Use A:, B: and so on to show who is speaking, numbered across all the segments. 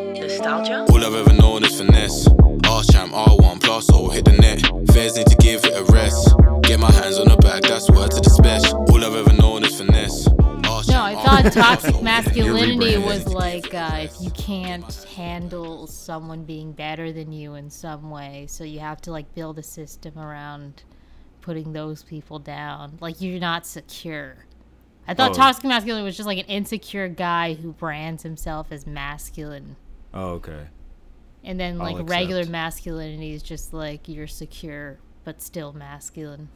A: Nostalgia?
B: All I've ever known is finesse. R-champ, R1, plus, or hit the net. Fairs need to give it a rest. Get my hands on the bag, that's word to the special. All I've ever known is finesse.
C: No, I thought toxic masculinity was like uh, if you can't handle someone being better than you in some way, so you have to like build a system around putting those people down. Like you're not secure. I thought
D: Oh.
C: toxic masculinity was just like an insecure guy who brands himself as masculine,
D: Oh, okay.
C: and then
D: I'll
C: like regular
D: accept.
C: masculinity is just like you're secure but still masculine.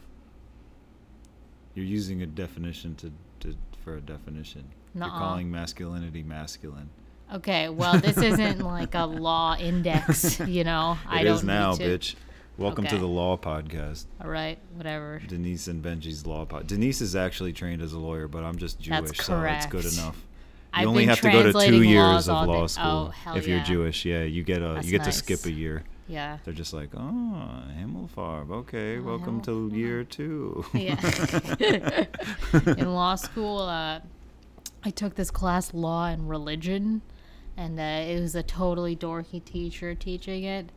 D: You're using a definition to, to for a definition. You're
C: Nuh-uh.
D: calling masculinity masculine.
C: Okay, well this isn't like a law index, you know. I
D: It
C: don't
D: is now,
C: need to.
D: bitch. Welcome to
C: Okay.
D: the Law Podcast.
C: All right, whatever.
D: Denise and Benji's Law Pod. Denise is actually trained as a lawyer, but I'm just Jewish,
C: That's
D: so it's good
C: correct.
D: enough.
C: I've
D: you only
C: been
D: have to go to two
C: translating
D: years
C: laws
D: of
C: all
D: law
C: day.
D: school
C: Oh, hell
D: if you're
C: yeah.
D: Jewish. Yeah, you get a
C: That's
D: you get
C: nice.
D: to skip a year.
C: Yeah.
D: They're just like, oh, Himmelfarb. Okay,
C: Oh,
D: welcome to
C: Himmelfarb.
D: year two.
C: Yeah. in law school, uh, I took this class, Law and Religion, and uh, it was a totally dorky teacher teaching it.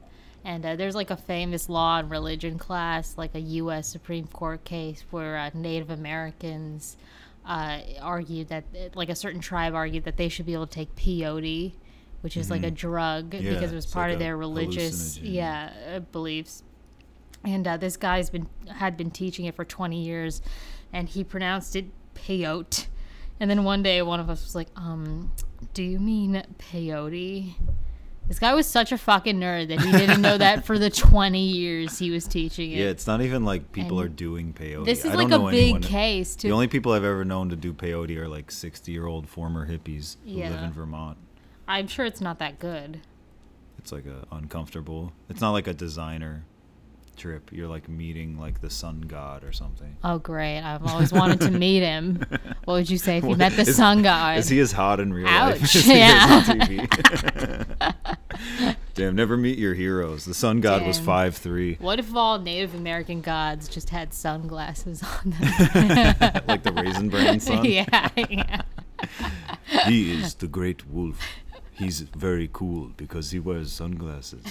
C: And uh, there's like a famous law and religion class, like a U.S. Supreme Court case where uh, Native Americans uh, argued that, like a certain tribe argued that they should be able to take peyote, which is like a drug
D: Mm-hmm. Yeah,
C: because it was
D: it's
C: part
D: like
C: of
D: a
C: their religious,
D: hallucinogen.
C: yeah, uh, beliefs and uh, this guy's been had been teaching it for 20 years and he pronounced it peyote and then one day one of us was like um do you mean peyote this guy was such a fucking nerd that he didn't know that for the 20 years he was teaching it
D: Yeah, it's not even like people
C: And
D: are doing peyote.
C: this
D: I
C: is
D: don't
C: like a
D: know
C: big
D: anyone-
C: case to
D: The only people I've ever known to do peyote are like 60 year old former hippies who live
C: Yeah.
D: in Vermont.
C: i'm sure it's not that good
D: It's like a uncomfortable. It's not like a designer trip. You're like meeting like the sun god or something.
C: oh great i've always wanted to meet him what would you say if you met the
D: Is-
C: sun god
D: Is he as hot in real life?
C: Ouch,
D: As he is on
C: yeah.
D: TV? Damn, never meet your heroes. The sun god was
C: Damn.
D: five three,
C: what if all native american gods just had sunglasses on them
D: like the raisin bran sun.
C: yeah, yeah.
D: He is the great wolf. He's very cool because he wears sunglasses.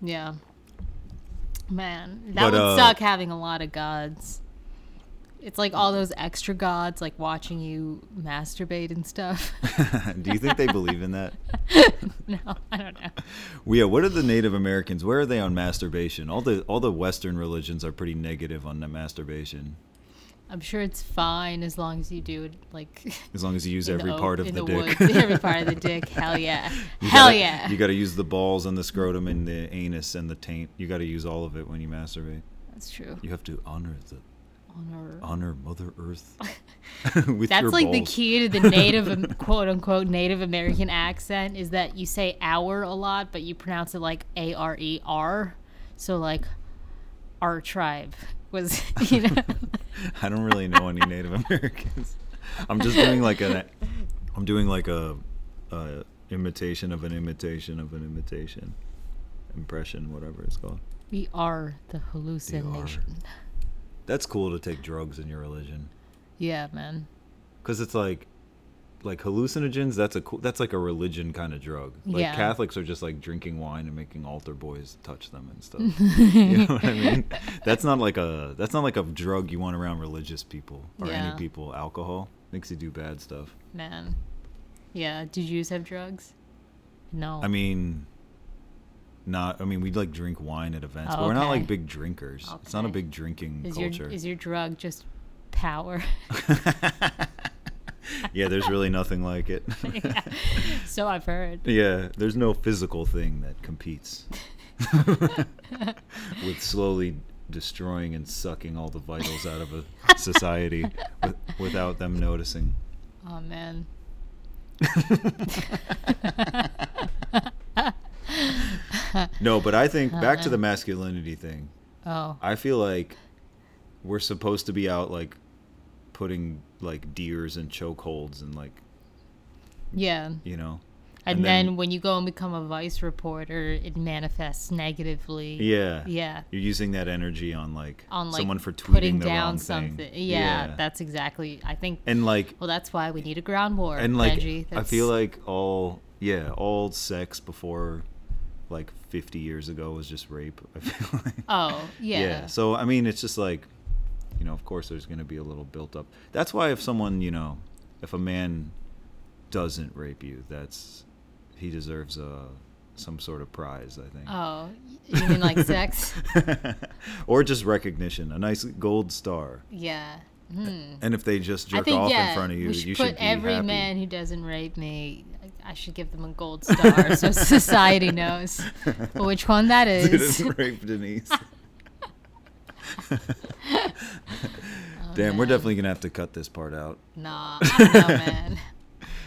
C: Yeah. Man, that
D: But,
C: would
D: uh,
C: suck having a lot of gods. It's like all those extra gods like watching you masturbate and stuff.
D: Do you think they believe in that?
C: no, I don't know.
D: Well, yeah, what are the Native Americans? Where are they on masturbation? All the all the Western religions are pretty negative on the masturbation.
C: I'm sure it's fine as long as you do it like
D: As long as you use
C: in
D: every
C: oak-
D: part of
C: in
D: the, dick.
C: woods, every part of the dick. Hell yeah.
D: You
C: Hell
D: gotta-
C: yeah.
D: You got to use the balls and the scrotum and the anus and the taint. You got to use all of it when you masturbate.
C: That's true.
D: You have to honor the
C: Honor.
D: honor Mother Earth with your
C: That's like the
D: balls.
C: key to the native quote unquote Native American accent is that you say hour a lot, but you pronounce it like A R E R. So like our tribe was you know
D: I don't really know any Native Americans. I'm just doing like an I'm doing like a, a imitation of an imitation of an imitation impression whatever it's called.
C: we are the hallucination.
D: That's cool to take drugs in your religion
C: Yeah, man.
D: because it's like like hallucinogens. That's a cool. That's like a religion kind of drug. Like
C: Yeah.
D: Catholics are just like drinking wine and making altar boys touch them and stuff. you know what I mean? That's not like a that's not like a drug you want around religious people or
C: Yeah.
D: any people. Alcohol makes you do bad stuff.
C: Man. Yeah. Do Jews have drugs? No.
D: I mean, not. I mean, we like drink wine at events, but we're not
C: Oh, Okay.
D: like big drinkers. It's not a
C: Okay.
D: big drinking
C: is
D: culture.
C: your is your drug just power?
D: yeah, there's really nothing like it.
C: so I've heard.
D: yeah, there's no physical thing that competes with slowly destroying and sucking all the vitals out of a society with, without them noticing.
C: Oh man.
D: No, but I think back to
C: Uh-huh.
D: the masculinity thing.
C: Oh.
D: I feel like we're supposed to be out like putting like deers and chokeholds and like
C: Yeah.
D: you know
C: And,
D: And
C: then,
D: then-
C: when you go and become a vice reporter, it manifests negatively.
D: Yeah.
C: Yeah.
D: You're using that energy on like,
C: On like
D: someone for tweeting
C: putting
D: the
C: down
D: wrong
C: something.
D: Thing.
C: Yeah, that's exactly. I think.
D: and like
C: well, that's why we need a ground war.
D: and like
C: Benji.
D: I
C: That's-
D: feel like all yeah, all sex before like 50 years ago was just rape. I feel like
C: Oh yeah.
D: So I mean, it's just like, you know, of course there's going to be a little built up. That's why if someone, you know, if a man doesn't rape you, that's he deserves a some sort of prize, I think.
C: Oh, you mean like sex?
D: or just recognition, a nice gold star.
C: Yeah. Hmm.
D: And if they just
C: I
D: jerk
C: think
D: off
C: yeah.
D: in front of you,
C: we should
D: you
C: put
D: should be
C: every
D: happy.
C: man who doesn't rape me. I should give them a gold star so society knows which one that is.
D: didn't rape Denise. Damn, we're
C: man.
D: definitely gonna have to cut this part out.
C: nah, I don't know, man.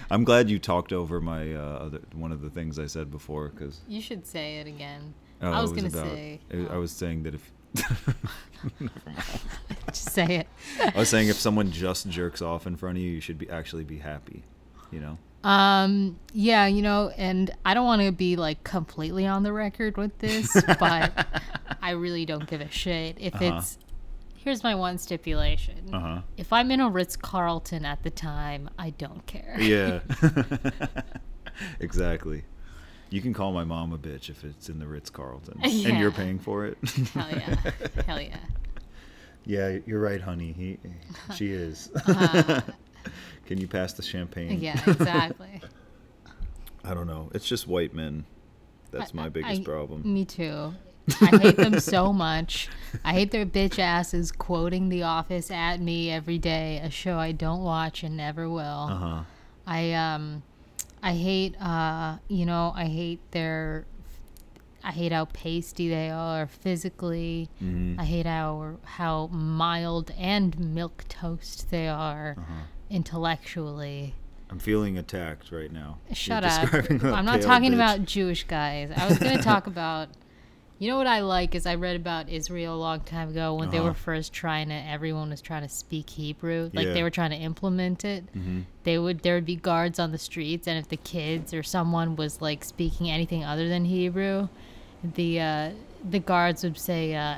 D: I'm glad you talked over my uh, other one of the things I said before oh, because
C: You should say Oh, it again. I was, gonna say. uh, um,
D: I was saying that if
C: Just say it.
D: I was saying if someone just jerks off in front of you, you should be actually be happy, you know.
C: Um, yeah, you know, and I don't want to be like completely on the record with this, but I really don't give a shit if it's. Here's my one stipulation.
D: huh.
C: If I'm in a Ritz Carlton at the time, I don't care.
D: Yeah. exactly. You can call my mom a bitch if it's in the Ritz Carlton and
C: Yeah.
D: you're paying for it.
C: Hell yeah. Hell yeah.
D: yeah, you're right, honey. He, she is. can you pass the champagne?
C: Uh-huh. Yeah, exactly.
D: I don't know. It's just white men. That's my
C: I-
D: biggest
C: I- mm.
D: problem.
C: Me too. I hate them so much. I hate their bitch asses quoting The Office at me every day, a show I don't watch and never will.
D: Uh huh.
C: I um I hate uh you know I hate their I hate how pasty they are physically. I hate how how mild and milk toast they are intellectually.
D: I'm feeling attacked right now. You're
C: Shut up.
D: describing a
C: I'm not
D: pale
C: talking
D: bitch.
C: about Jewish guys. I was going to talk about you know what I like is I read about Israel a long time ago when they were
D: Uh-huh.
C: first trying to everyone was trying to speak Hebrew like they
D: Yeah. Mm-hmm.
C: were trying to implement it. They would there would be guards on the streets and if the kids or someone was like speaking anything other than Hebrew, the uh, the guards would say uh,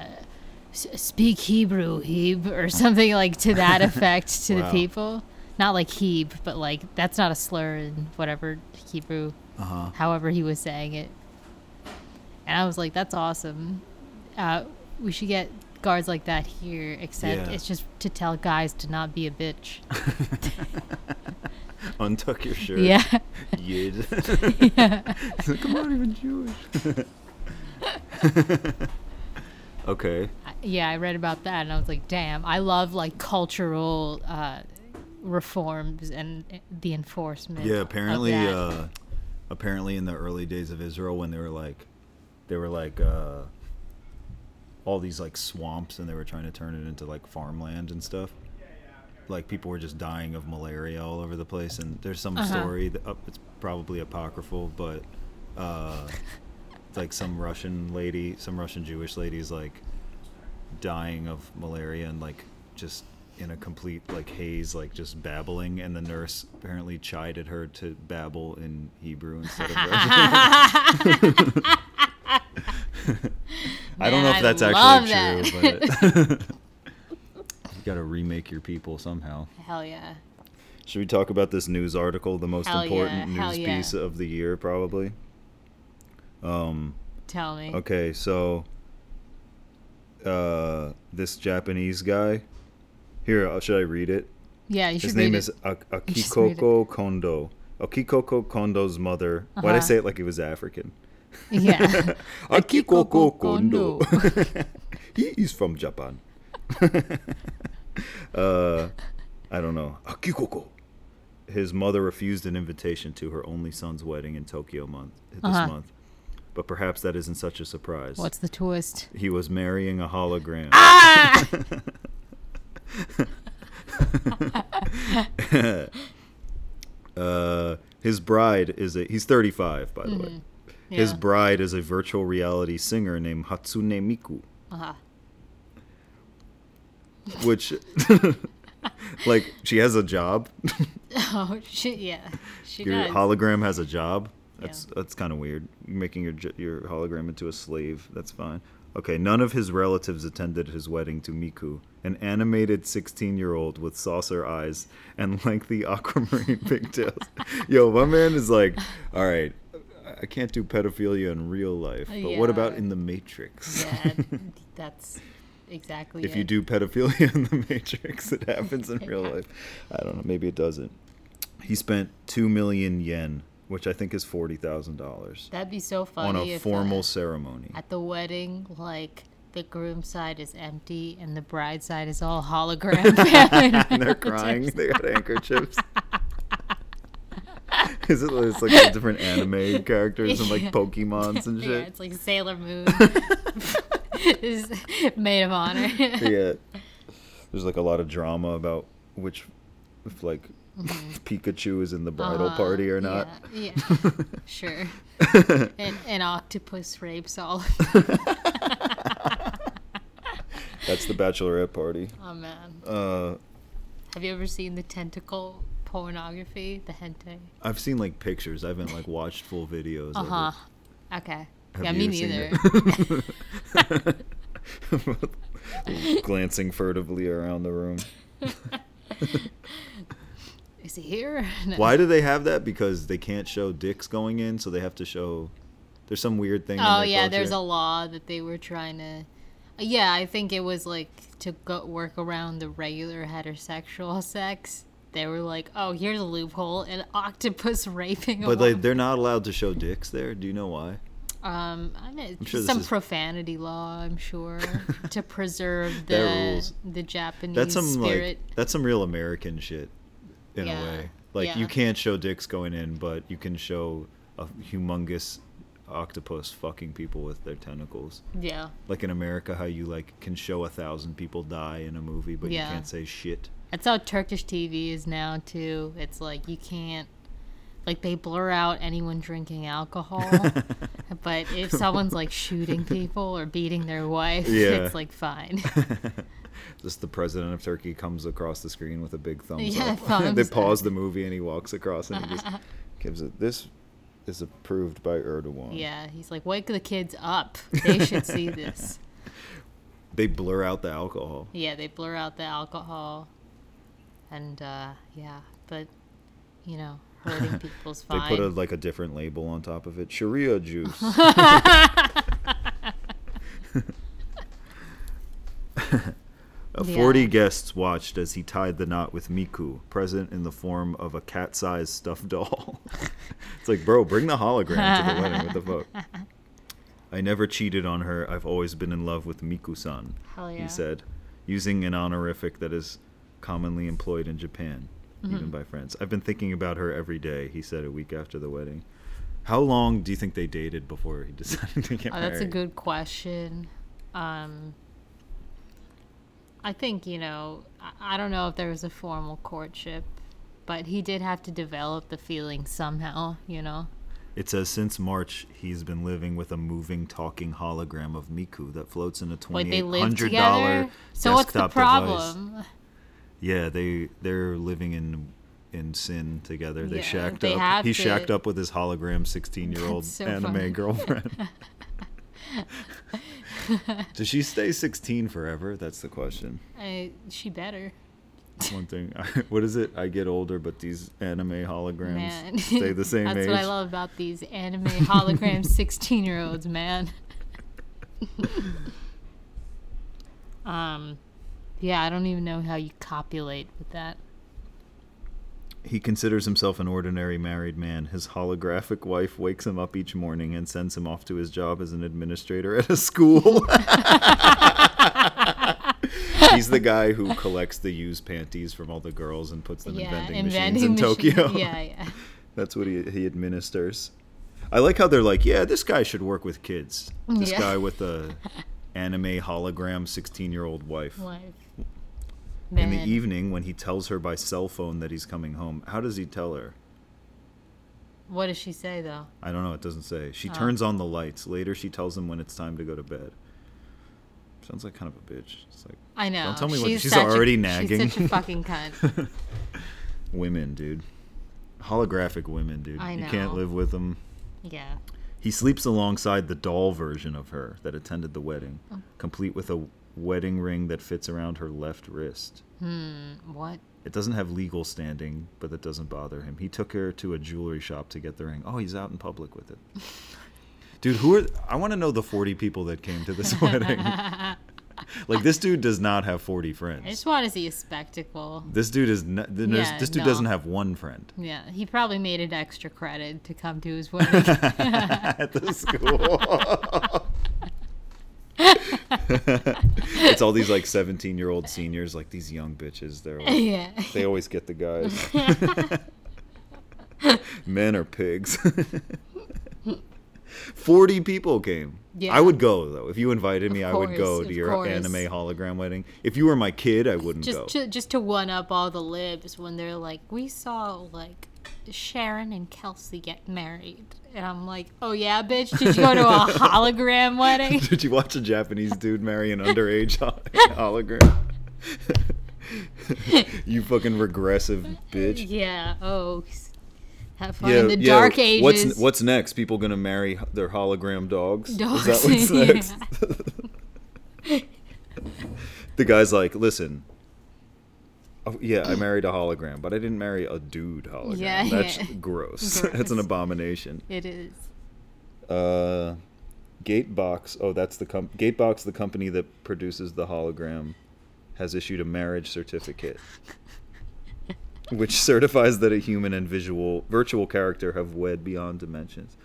C: "S- speak Hebrew Heb or something like to that effect to the
D: Wow.
C: people. Not like Heb, but like that's not a slur in whatever Hebrew
D: Uh-huh.
C: however he was saying it. And I was like, that's awesome. Uh, we should get guards like that here, except
D: Yeah.
C: it's just to tell guys to not be a bitch.
D: Untuck your shirt.
C: Yeah.
D: Yid. Come on, even Jewish. okay.
C: I- yeah, I read about that and I was like, damn, I love like cultural uh, reforms and the enforcement.
D: Yeah,
C: of
D: apparently
C: that.
D: uh apparently in the early days of Israel when they were like they were like uh all these like swamps and they were trying to turn it into like farmland and stuff. Like people were just dying of malaria all over the place and there's some
C: Uh-huh.
D: story that up it's probably apocryphal but uh like some Russian lady, some Russian Jewish lady's like dying of malaria and like just in a complete like haze, like just babbling. And the nurse apparently chided her to babble in Hebrew instead of Russian. I don't know
C: Man,
D: if that's
C: I
D: actually
C: love
D: true, but you got to remake your people somehow.
C: Hell yeah.
D: Should we talk about this news article, the most
C: Hell yeah,
D: important
C: hell
D: news
C: yeah.
D: piece of the year, probably?
C: Tell me.
D: Okay, so uh, this Japanese guy. Here, uh, should I read it?
C: Yeah, you should
D: His name
C: read
D: is
C: it.
D: A-
C: should read it.
D: Akikoko Kondo. Akikoko Kondo's mother. Why'd I
C: Uh-huh.
D: say it like he was African?
C: Yeah.
D: Akikoko
C: Akikoko
D: Kondo. he is from Japan. uh, I don't know. Akikoko. His mother refused an invitation to her only son's wedding in Tokyo month this
C: Uh-huh.
D: month, but perhaps that isn't such a surprise.
C: What's the twist?
D: He was marrying a hologram.
C: Ah!
D: uh, his bride is a. He's 35, by the way. His
C: Mm-hmm. Yeah.
D: bride is a virtual reality singer named Hatsune Miku,
C: Uh-huh.
D: which, like, she has a job.
C: Oh, shit, yeah. She
D: Your
C: does.
D: hologram has a job. That's that's kind of weird. Making your j- your hologram into a slave. That's fine. Okay, none of his relatives attended his wedding to Miku, an animated 16-year-old with saucer eyes and lengthy aquamarine pigtails. Yo, my man is like, all right, I- I can't do pedophilia in real life, but what about
C: Yeah.
D: in the Matrix?
C: Yeah, that's exactly
D: if you
C: it.
D: do pedophilia in the matrix it happens in real life i don't know maybe it doesn't he spent 2 million yen which i think is $40000
C: That'd be so funny.
D: on a
C: if, uh,
D: formal ceremony
C: at the wedding, like the groom side is empty and the bride side is all hologram family.
D: and they're crying they got handkerchiefs is it it's like the different anime characters and like
C: Yeah.
D: pokemons and
C: Yeah,
D: shit
C: it's like Sailor Moon. is maid of honor.
D: yeah there's like a lot of drama about which if like pikachu is in the bridal
C: Mm-hmm. Uh,
D: party or not
C: Yeah, yeah, sure. And an octopus rapes all of them.
D: that's the bachelorette party
C: Oh, man.
D: uh
C: Have you ever seen the tentacle pornography? The hentai?
D: I've seen like pictures. I haven't like watched full videos.
C: Uh huh.
D: Of it.
C: Okay.
D: Have
C: yeah, me
D: you
C: neither.
D: seen it? Glancing furtively around the room.
C: Is he here? No.
D: Why do they have that? Because they can't show dicks going in, so they have to show. There's some weird thing. in
C: Oh
D: their
C: yeah, there's a
D: culture.
C: law that they were trying to. Yeah, I think it was like to go work around the regular heterosexual sex. They were like, "Oh, here's a loophole: an octopus raping a
D: But like,
C: woman."
D: they're not allowed to show dicks there. Do you know why?
C: um, I mean,
D: sure this
C: some
D: is-
C: profanity law, I'm sure, to preserve
D: That
C: the
D: rules.
C: the Japanese
D: That's some
C: spirit.
D: like that's some real American shit, in
C: Yeah,
D: a way. Like
C: yeah.
D: you can't show dicks going in, but you can show a humongous octopus fucking people with their tentacles.
C: yeah,
D: like in America, how you like can show a thousand people die in a movie, but
C: Yeah.
D: you can't say shit.
C: that's how Turkish TV is now too. It's like you can't. Like they blur out anyone drinking alcohol. But if someone's like shooting people or beating their wife,
D: Yeah.
C: it's like fine.
D: Just the president of Turkey comes across the screen with a big thumbs
C: Yeah,
D: up.
C: thumbs
D: they
C: up.
D: pause the movie and he walks across and he just gives it. This is approved by Erdogan.
C: yeah, he's like, wake the kids up. They should see this.
D: They blur out the alcohol.
C: Yeah, they blur out the alcohol, and uh, yeah, but you know, hurting people's
D: They
C: fine.
D: put a, like a different label on top of it. Sharia juice. Uh, 40
C: Yeah.
D: guests watched as he tied the knot with Miku, present in the form of a cat sized stuffed doll. it's like, bro, bring the hologram to the wedding. What the fuck? I never cheated on her. I've always been in love with Miku san,
C: Hell yeah.
D: he said, using an honorific that is commonly employed in Japan,
C: Mm-hmm.
D: even by friends. I've been thinking about her every day, he said a week after the wedding. How long do you think they dated before he decided to get
C: Oh,
D: married?
C: that's a good question. Um, I think you know. I, I don't know if there was a formal courtship, but he did have to develop the feeling somehow. You know.
D: It says since March, he's been living with a moving, talking hologram of Miku that floats in a
C: Wait,
D: twenty
C: they
D: eight
C: live
D: hundred
C: together.
D: dollar
C: So what's the
D: desktop device.
C: problem?
D: Yeah, they they're living in in sin together. They
C: Yeah,
D: shacked
C: they
D: up.
C: have
D: he
C: to-
D: shacked up with his hologram sixteen year old
C: That's so
D: anime
C: funny.
D: girlfriend. Does she stay sixteen forever? That's the question.
C: I, Uh, she better.
D: One thing. What is it? I get older, but these anime holograms
C: Man.
D: stay the same
C: That's
D: age.
C: what I love about these anime hologram 16 year olds, man. um, yeah, I don't even know how you copulate with that.
D: He considers himself an ordinary married man. His holographic wife wakes him up each morning and sends him off to his job as an administrator at a school. He's the guy who collects the used panties from all the girls and puts them
C: yeah,
D: in vending machines in
C: machine-
D: Tokyo.
C: Yeah, yeah.
D: That's what he, he administers. I like how they're like, yeah, this guy should work with kids. This
C: Yeah.
D: guy with the anime hologram 16 year old wife.
C: Life.
D: In the
C: Man.
D: evening, when he tells her by cell phone that he's coming home, how does he tell her?
C: what does she say, though?
D: I don't know. It doesn't say. She turns on the lights. Later, she tells him when it's time to go to bed. Sounds like kind of a bitch. It's like
C: I know.
D: tell me what- she's
C: such a-
D: already
C: She's such a
D: nagging.
C: fucking cunt.
D: women, dude. Holographic women, dude.
C: I
D: You can't
C: know.
D: live with them.
C: Yeah.
D: He sleeps alongside the doll version of her that attended the wedding,
C: Oh.
D: complete with a wedding ring that fits around her left wrist.
C: What?
D: It doesn't have legal standing, but that doesn't bother him. He took her to a jewelry shop to get the ring. Oh, he's out in public with it. Dude, who are I want to know the 40 people that came to this wedding. like this dude does not have 40
C: I just
D: friends.
C: want to see a spectacle.
D: This dude is not, th- there's-
C: Yeah,
D: this dude
C: no.
D: doesn't have one friend
C: Yeah, he probably made an extra credit to come to his wedding.
D: at the school. it's all these like 17 year old seniors, like these young bitches. They're like,
C: yeah.
D: They always get the guys. Men are pigs. 40 people came.
C: Yeah.
D: I would go though. If you invited me,
C: Of
D: I would go
C: course,
D: to
C: of
D: your
C: course.
D: anime hologram wedding. If you were my kid, I wouldn't go.
C: Just to just to one up all the libs when they're like, we saw like Sharon and Kelsey get married, and I'm like, oh yeah, bitch, did you go to a hologram wedding?
D: Did you watch a Japanese dude marry an underage ho- hologram? you fucking regressive bitch.
C: yeah. Oh, s- have fun
D: Yeah,
C: in the
D: yeah,
C: dark ages.
D: What's what's next? People gonna marry h- their hologram dogs?
C: Dogs,
D: Is that what's
C: yeah.
D: next? the guy's like, listen. oh, Yeah, I married a hologram, but I didn't marry a dude hologram.
C: Yeah,
D: That's
C: yeah.
D: gross.
C: Gross.
D: That's an abomination.
C: it is.
D: Uh, Gatebox. Oh, that's the com- Gatebox, the company that produces the hologram, has issued a marriage certificate, which certifies that a human and visual virtual character have wed beyond dimensions.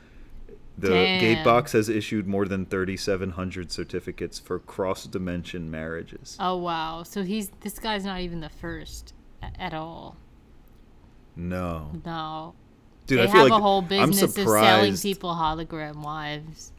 D: The
C: Damn.
D: Gatebox has issued more than 3,700 certificates for cross-dimension marriages.
C: Oh wow. So he's this guy's not even the first a- at all.
D: No,
C: No.
D: dude,
C: they
D: I feel
C: have
D: like
C: a whole
D: I'm
C: business of selling
D: surprised.
C: people hologram wives,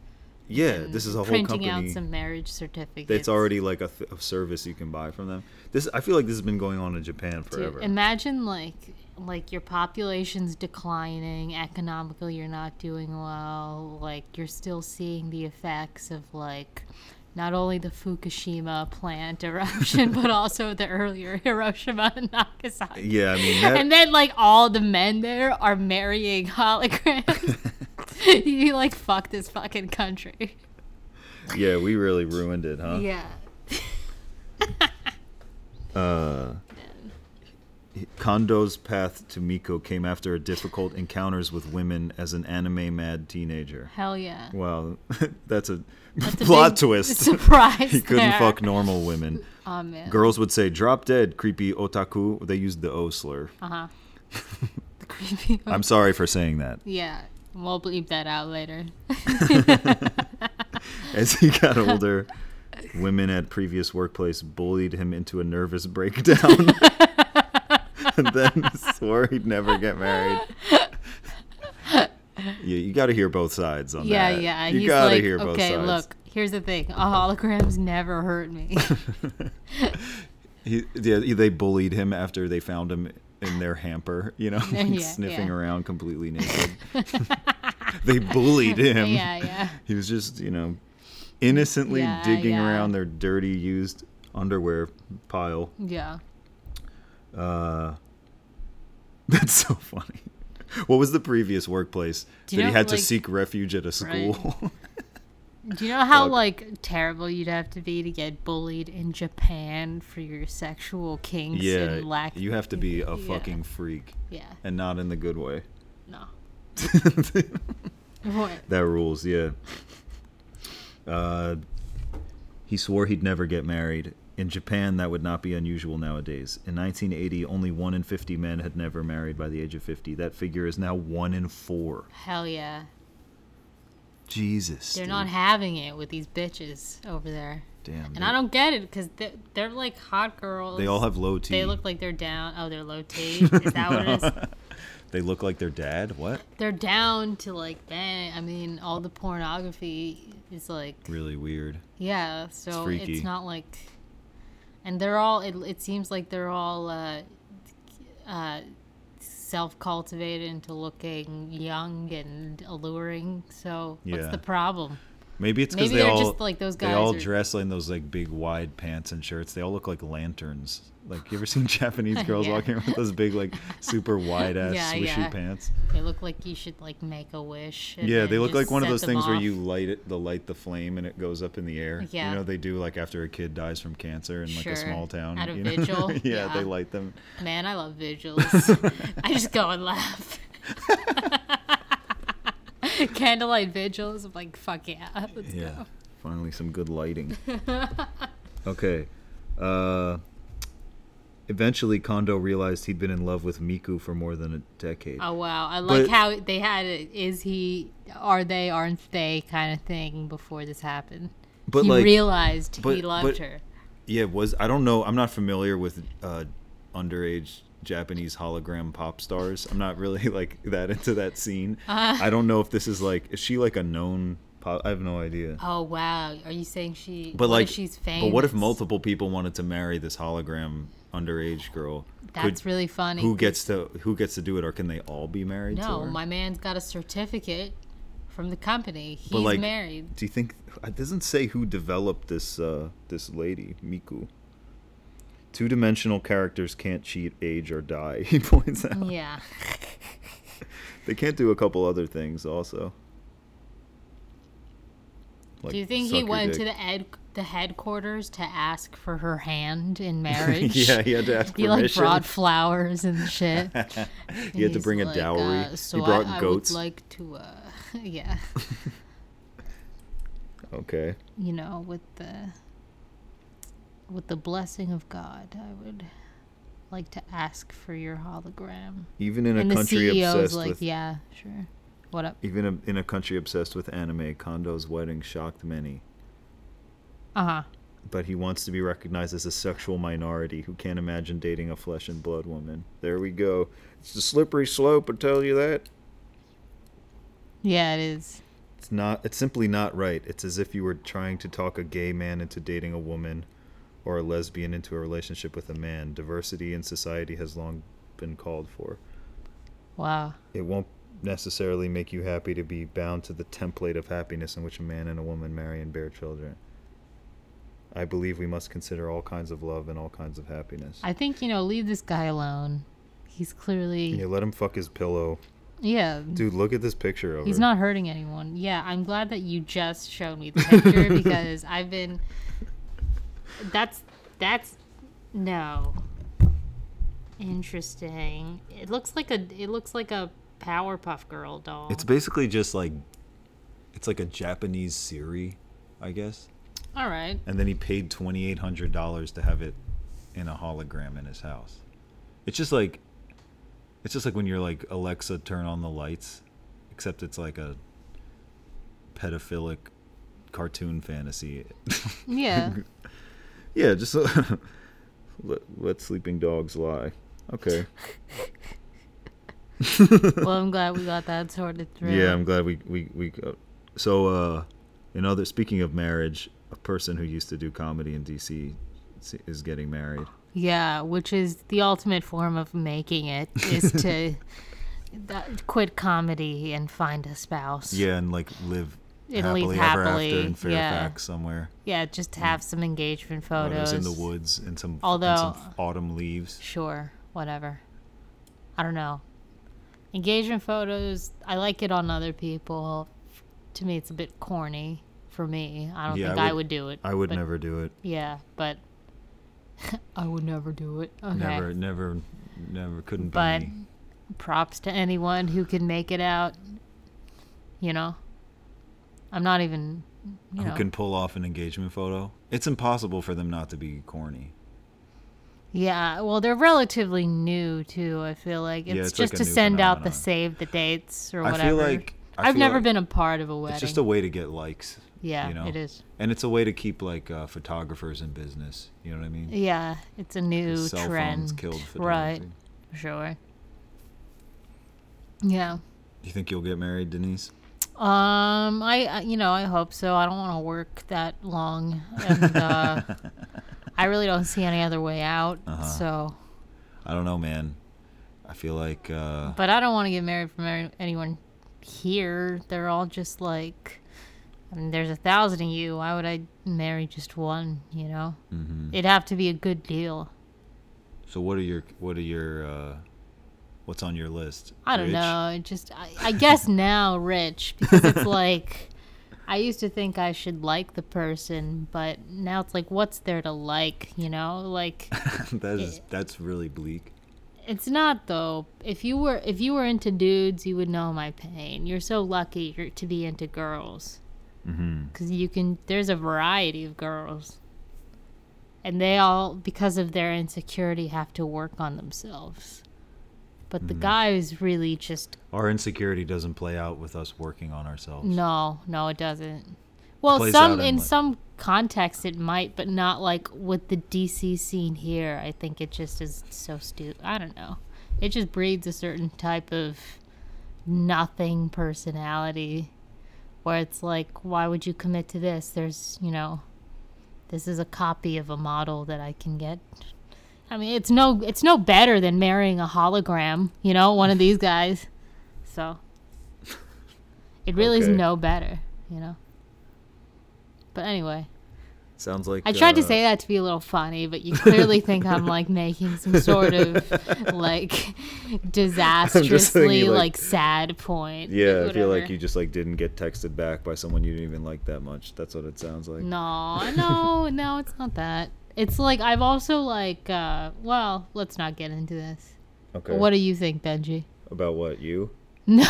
D: yeah, this is a whole
C: printing out
D: company.
C: some marriage certificates.
D: That's already like a, th- a service you can buy from them. This I feel like this has been going on in Japan
C: Dude,
D: forever.
C: imagine like like your population's declining economically you're not doing well like you're still seeing the effects of like not only the fukushima plant eruption but also the earlier hiroshima and nagasaki
D: Yeah, I mean that,
C: and then like all the men there are marrying holograms you like fuck this fucking country
D: yeah, we really ruined it, huh?
C: yeah
D: Uh, Kondo's path to Miko came after difficult encounters with women as an anime mad teenager.
C: hell yeah
D: Wow, that's a
C: It's a
D: plot
C: big
D: twist.
C: surprise
D: he couldn't
C: there.
D: fuck normal women.
C: oh man
D: Girls would say, "Drop dead, creepy otaku." They used the O slur.
C: uh-huh the creepy
D: I'm sorry for saying that.
C: Yeah, we'll bleep that out later.
D: As he got older, women at previous workplace bullied him into a nervous breakdown. and then swore he'd never get married. yeah, you got to hear both sides on
C: yeah,
D: that.
C: yeah.
D: You
C: he's
D: gotta
C: like,
D: hear both
C: okay,
D: sides.
C: look, here's the thing. A holograms never hurt me.
D: He, yeah, they bullied him after they found him in their hamper, you know, like
C: Yeah,
D: sniffing
C: yeah.
D: around completely naked. they bullied him.
C: yeah, yeah.
D: He was just, you know, innocently
C: Yeah,
D: digging
C: yeah.
D: around their dirty, used underwear pile.
C: Yeah.
D: Uh, that's so funny. What was the previous workplace
C: Do
D: that
C: you
D: he
C: know,
D: had
C: like-
D: to seek refuge at a
C: Right.
D: school?
C: Do you know how
D: Look.
C: like terrible you'd have to be to get bullied in Japan for your sexual kinks
D: yeah,
C: and lack?
D: you have to be a
C: Yeah.
D: fucking freak,
C: Yeah.
D: and not in the good way.
C: No. What?
D: That rules, yeah. Uh, he swore he'd never get married. In Japan, that would not be unusual nowadays. In 1980, only one in 50 men had never married by the age of 50. That figure is now one in four.
C: Hell yeah.
D: Jesus.
C: They're
D: dude.
C: not having it with these bitches over there.
D: Damn.
C: And
D: dude.
C: I don't get it because they're, they're like hot girls.
D: They all have low T.
C: They look like they're down. Oh, they're low T. Is that what it is?
D: They look like their dad. What?
C: They're down to like bang. I mean, all the pornography is like
D: Really weird.
C: yeah. So it's,
D: freaky.
C: not like, and they're all. It, it seems like they're all uh, uh, self cultivated into looking young and alluring. So
D: Yeah.
C: what's the problem?
D: Maybe it's because
C: Maybe
D: they
C: they're
D: all
C: just, like, those
D: They
C: guys
D: all
C: are-
D: dress in those like big wide pants and shirts. They all look like lanterns. Like you ever seen Japanese girls
C: Yeah.
D: walking around with those big like super wide ass
C: Yeah,
D: swishy
C: yeah.
D: pants?
C: They look like you should like make a wish. and
D: Yeah,
C: then
D: they look
C: just
D: like one of
C: set
D: those
C: them
D: things where
C: off.
D: you light it, the light the flame, and it goes up in the air.
C: Yeah.
D: You know they do like after a kid dies from cancer in like
C: Sure.
D: a small town.
C: At a
D: you know?
C: vigil,
D: yeah,
C: yeah.
D: they light them.
C: Man, I love vigils. I just go and laugh. Candlelight vigils. I'm like, fuck yeah. Let's
D: Yeah. Finally, some good lighting. okay. Uh, eventually, Kondo realized he'd been in love with Miku for more than a decade.
C: Oh wow! I like
D: But-
C: how they had it. Is he? Are they? Aren't they? Kind of thing before this happened.
D: But,
C: he
D: like-
C: realized
D: but-
C: he loved
D: but-
C: her.
D: Yeah, was I don't know. I'm not familiar with uh, underage Japanese hologram pop stars. I'm not really like that into that scene.
C: Uh.
D: I don't know if this is like is she like a known pop? I have no idea.
C: Oh wow! Are you saying she?
D: But
C: what
D: like
C: if she's famous.
D: But what if multiple people wanted to marry this hologram underage girl?
C: That's really funny.
D: Who gets to who gets to do it, or can they all be married? to
C: No,
D: her?
C: my man's got a certificate from the company. He's
D: But, like,
C: married.
D: Do you think it doesn't say who developed this uh, this lady Miku? Two dimensional characters can't cheat, age, or die. He points out
C: Yeah.
D: they can't do a couple other things also. Like
C: Do you think
D: suck
C: he
D: your
C: went to
D: dick.
C: the ed- the headquarters to ask for her hand in marriage?
D: yeah, he had to ask
C: He like
D: permission.
C: brought flowers and shit.
D: he had to
C: He's
D: bring a
C: like,
D: dowry.
C: uh, so
D: he brought
C: I,
D: goats.
C: I would like to, uh, yeah,
D: okay.
C: you know, with the with the blessing of God, I would like to ask for your hologram.
D: Even in a
C: and the
D: country
C: CEO's
D: obsessed
C: like,
D: with
C: yeah, sure. What up?
D: even a, in a country obsessed with anime, Kondo's wedding shocked many.
C: Uh huh.
D: but he wants to be recognized as a sexual minority who can't imagine dating a flesh and blood woman. There we go. It's a slippery slope, I tell you that.
C: Yeah, it is.
D: It's not it's simply not right. It's as if you were trying to talk a gay man into dating a woman or a lesbian into a relationship with a man. Diversity in society has long been called for.
C: Wow.
D: It won't necessarily make you happy to be bound to the template of happiness in which a man and a woman marry and bear children. I believe we must consider all kinds of love and all kinds of happiness.
C: I think you know, leave this guy alone. He's clearly
D: Yeah, let him fuck his pillow.
C: yeah.
D: Dude, look at this picture of
C: He's
D: her.
C: not hurting anyone. Yeah, I'm glad that you just showed me the picture because I've been. That's that's no. Interesting. It looks like a it looks like a Powerpuff Girl doll.
D: It's basically just like it's like a Japanese Siri, I guess.
C: All right.
D: And then he paid twenty eight hundred dollars to have it in a hologram in his house. It's just like it's just like when you're like Alexa turn on the lights, except it's like a pedophilic cartoon fantasy.
C: Yeah.
D: yeah, just let, let sleeping dogs lie. Okay.
C: well, I'm glad we got that sorted through.
D: Yeah, I'm glad we we we. Uh, so, uh, in other speaking of marriage, a person who used to do comedy in D.C. s- is getting married.
C: Yeah, which is the ultimate form of making it is to that, quit comedy and find a spouse.
D: Yeah, and like live
C: And
D: happily,
C: live
D: ever after
C: happily,
D: in
C: yeah.
D: Fairfax somewhere.
C: Yeah, just to have some engagement
D: When it was
C: photos.
D: in the woods and some and
C: Although-
D: some autumn leaves.
C: Sure, whatever. I don't know. Engagement photos, I like it on other people. To me, it's a bit corny for me. I don't
D: Yeah,
C: think
D: I
C: I would,
D: would-
C: do it.
D: I would
C: but-
D: never do it.
C: Yeah, but I would never do it. Okay.
D: Never, never, never. Couldn't
C: But
D: be me.
C: props to anyone who can make it out. You know? I'm not even. You know.
D: Who can pull off an engagement photo? It's impossible for them not to be corny.
C: Yeah, well, they're relatively new too. I feel like it's,
D: Yeah, it's like
C: just
D: a
C: to
D: new
C: send out the
D: phenomenon.
C: save the dates or
D: I
C: whatever.
D: feel like I
C: have
D: feel
C: never
D: like
C: been a part of a wedding.
D: It's just a way to get likes.
C: yeah,
D: you know?
C: it is.
D: and it's a way to keep like uh, photographers in business. You know what I mean?
C: Yeah, it's a new
D: Cell
C: trend.
D: phones killed
C: right,
D: photography.
C: sure. Yeah.
D: Do you think you'll get married, Denise?
C: Um, I, I you know I hope so. I don't want to work that long, and uh, I really don't see any other way out.
D: Uh-huh.
C: So,
D: I don't know, man. I feel like uh,
C: but I don't want to get married from any- anyone here. They're all just like I mean, there's a thousand of you. Why would I marry just one? You know,
D: hmm
C: it'd have to be a good deal.
D: So what are your what are your uh, what's on your list?
C: I don't
D: Rich?
C: know. It just I, I guess now rich because it's like I used to think I should like the person, but now it's like what's there to like, you know? Like
D: that is that's really bleak.
C: it's not though. If you were if you were into dudes, you would know my pain. You're so lucky you're, to be into girls. Cuz you can there's a variety of girls. And they all because of their insecurity have to work on themselves. But the guy is really just
D: Our insecurity doesn't play out with us working on ourselves.
C: No, no, it doesn't. Well,
D: plays
C: some
D: out in,
C: in
D: like-
C: some contexts it might, but not like with the DC scene here. I think it just is so stupid. I don't know. It just breeds a certain type of nothing personality, where it's like, why would you commit to this? There's, you know, this is a copy of a model that I can get. I mean, it's no, it's no better than marrying a hologram. You know, one of these guys. So it really
D: Okay.
C: is no better, you know. But anyway,
D: Sounds like
C: I tried to
D: uh,
C: say that to be a little funny, but you clearly think I'm like making some sort of like disastrously
D: like-
C: like, sad point.
D: Yeah, I feel like
C: whatever.
D: you just like didn't get texted back by someone you didn't even like that much. That's what it sounds like.
C: No, no, no, it's not that. It's like I've also like uh well, let's not get into this.
D: Okay.
C: What do you think, Benji?
D: about what you?
C: No.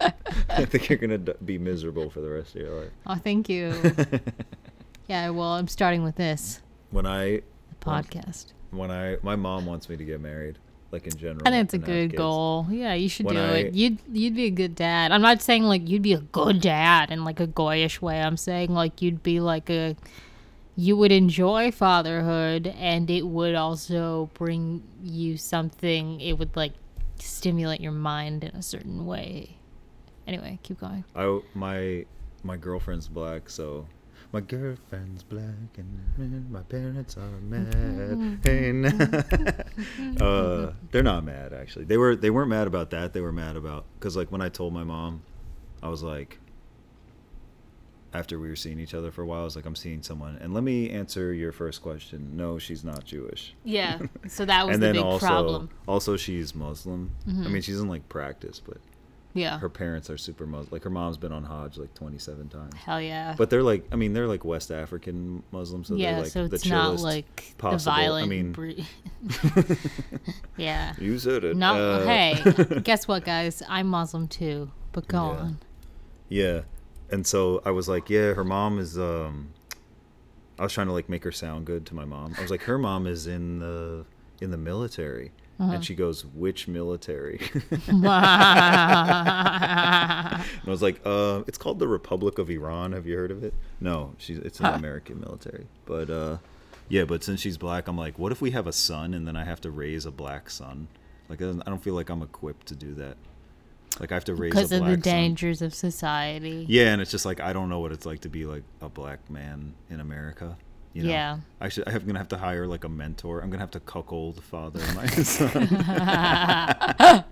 D: I think you're gonna d- be miserable for the rest of your life.
C: oh, thank you. yeah, well, I'm starting with this
D: When I
C: podcast.
D: when I my mom wants me to get married, like in general.
C: I think it's a
D: and have
C: good
D: kids.
C: goal. Yeah, you should
D: When
C: do
D: I-
C: it. You'd you'd be a good dad. I'm not saying like you'd be a good dad in like a goyish way. I'm saying like you'd be like a you would enjoy fatherhood and it would also bring you something it would like stimulate your mind in a certain way. Anyway, keep going.
D: I my my girlfriend's black, so my girlfriend's black and my parents are mad. Hey, now. uh, they're not mad actually. They were they weren't mad about that. They were mad about because like when I told my mom, I was like, after we were seeing each other for a while, I was like, I'm seeing someone, and let me answer your first question. No, she's not Jewish
C: Yeah. So that was
D: and
C: the
D: then
C: big
D: also
C: problem. Mm-hmm.
D: also she's Muslim. I mean, she's in like practice, but
C: Yeah.
D: her parents are super Muslim. Like her mom's been on Hajj like 27 times.
C: Hell yeah.
D: But they're like, I mean, they're like West African Muslims, so
C: yeah,
D: they're like
C: so
D: the
C: it's not
D: chillest
C: like the
D: possible.
C: violent
D: I mean,
C: breed. yeah.
D: you said it.
C: No,
D: Uh,
C: hey, guess what, guys? I'm Muslim too, but go
D: Yeah.
C: on.
D: Yeah. And so I was like, yeah, her mom is um I was trying to like make her sound good to my mom. I was like, her mom is in the in the military.
C: Uh-huh.
D: And she goes, "Which military?" and I was like, "Uh, it's called the Republic of Iran. Have you heard of it?" No, she's it's in the American military. But uh, yeah, but since she's black, I'm like, what if we have a son and then I have to raise a black son? Like, I don't I don't feel like I'm equipped to do that. Like, I have to raise a black
C: Because of the
D: son.
C: dangers of society.
D: Yeah, and it's just like I don't know what it's like to be like a black man in America. You know?
C: Yeah.
D: I should. I'm gonna have to hire like a mentor. I'm gonna have to cuckold the father of my son.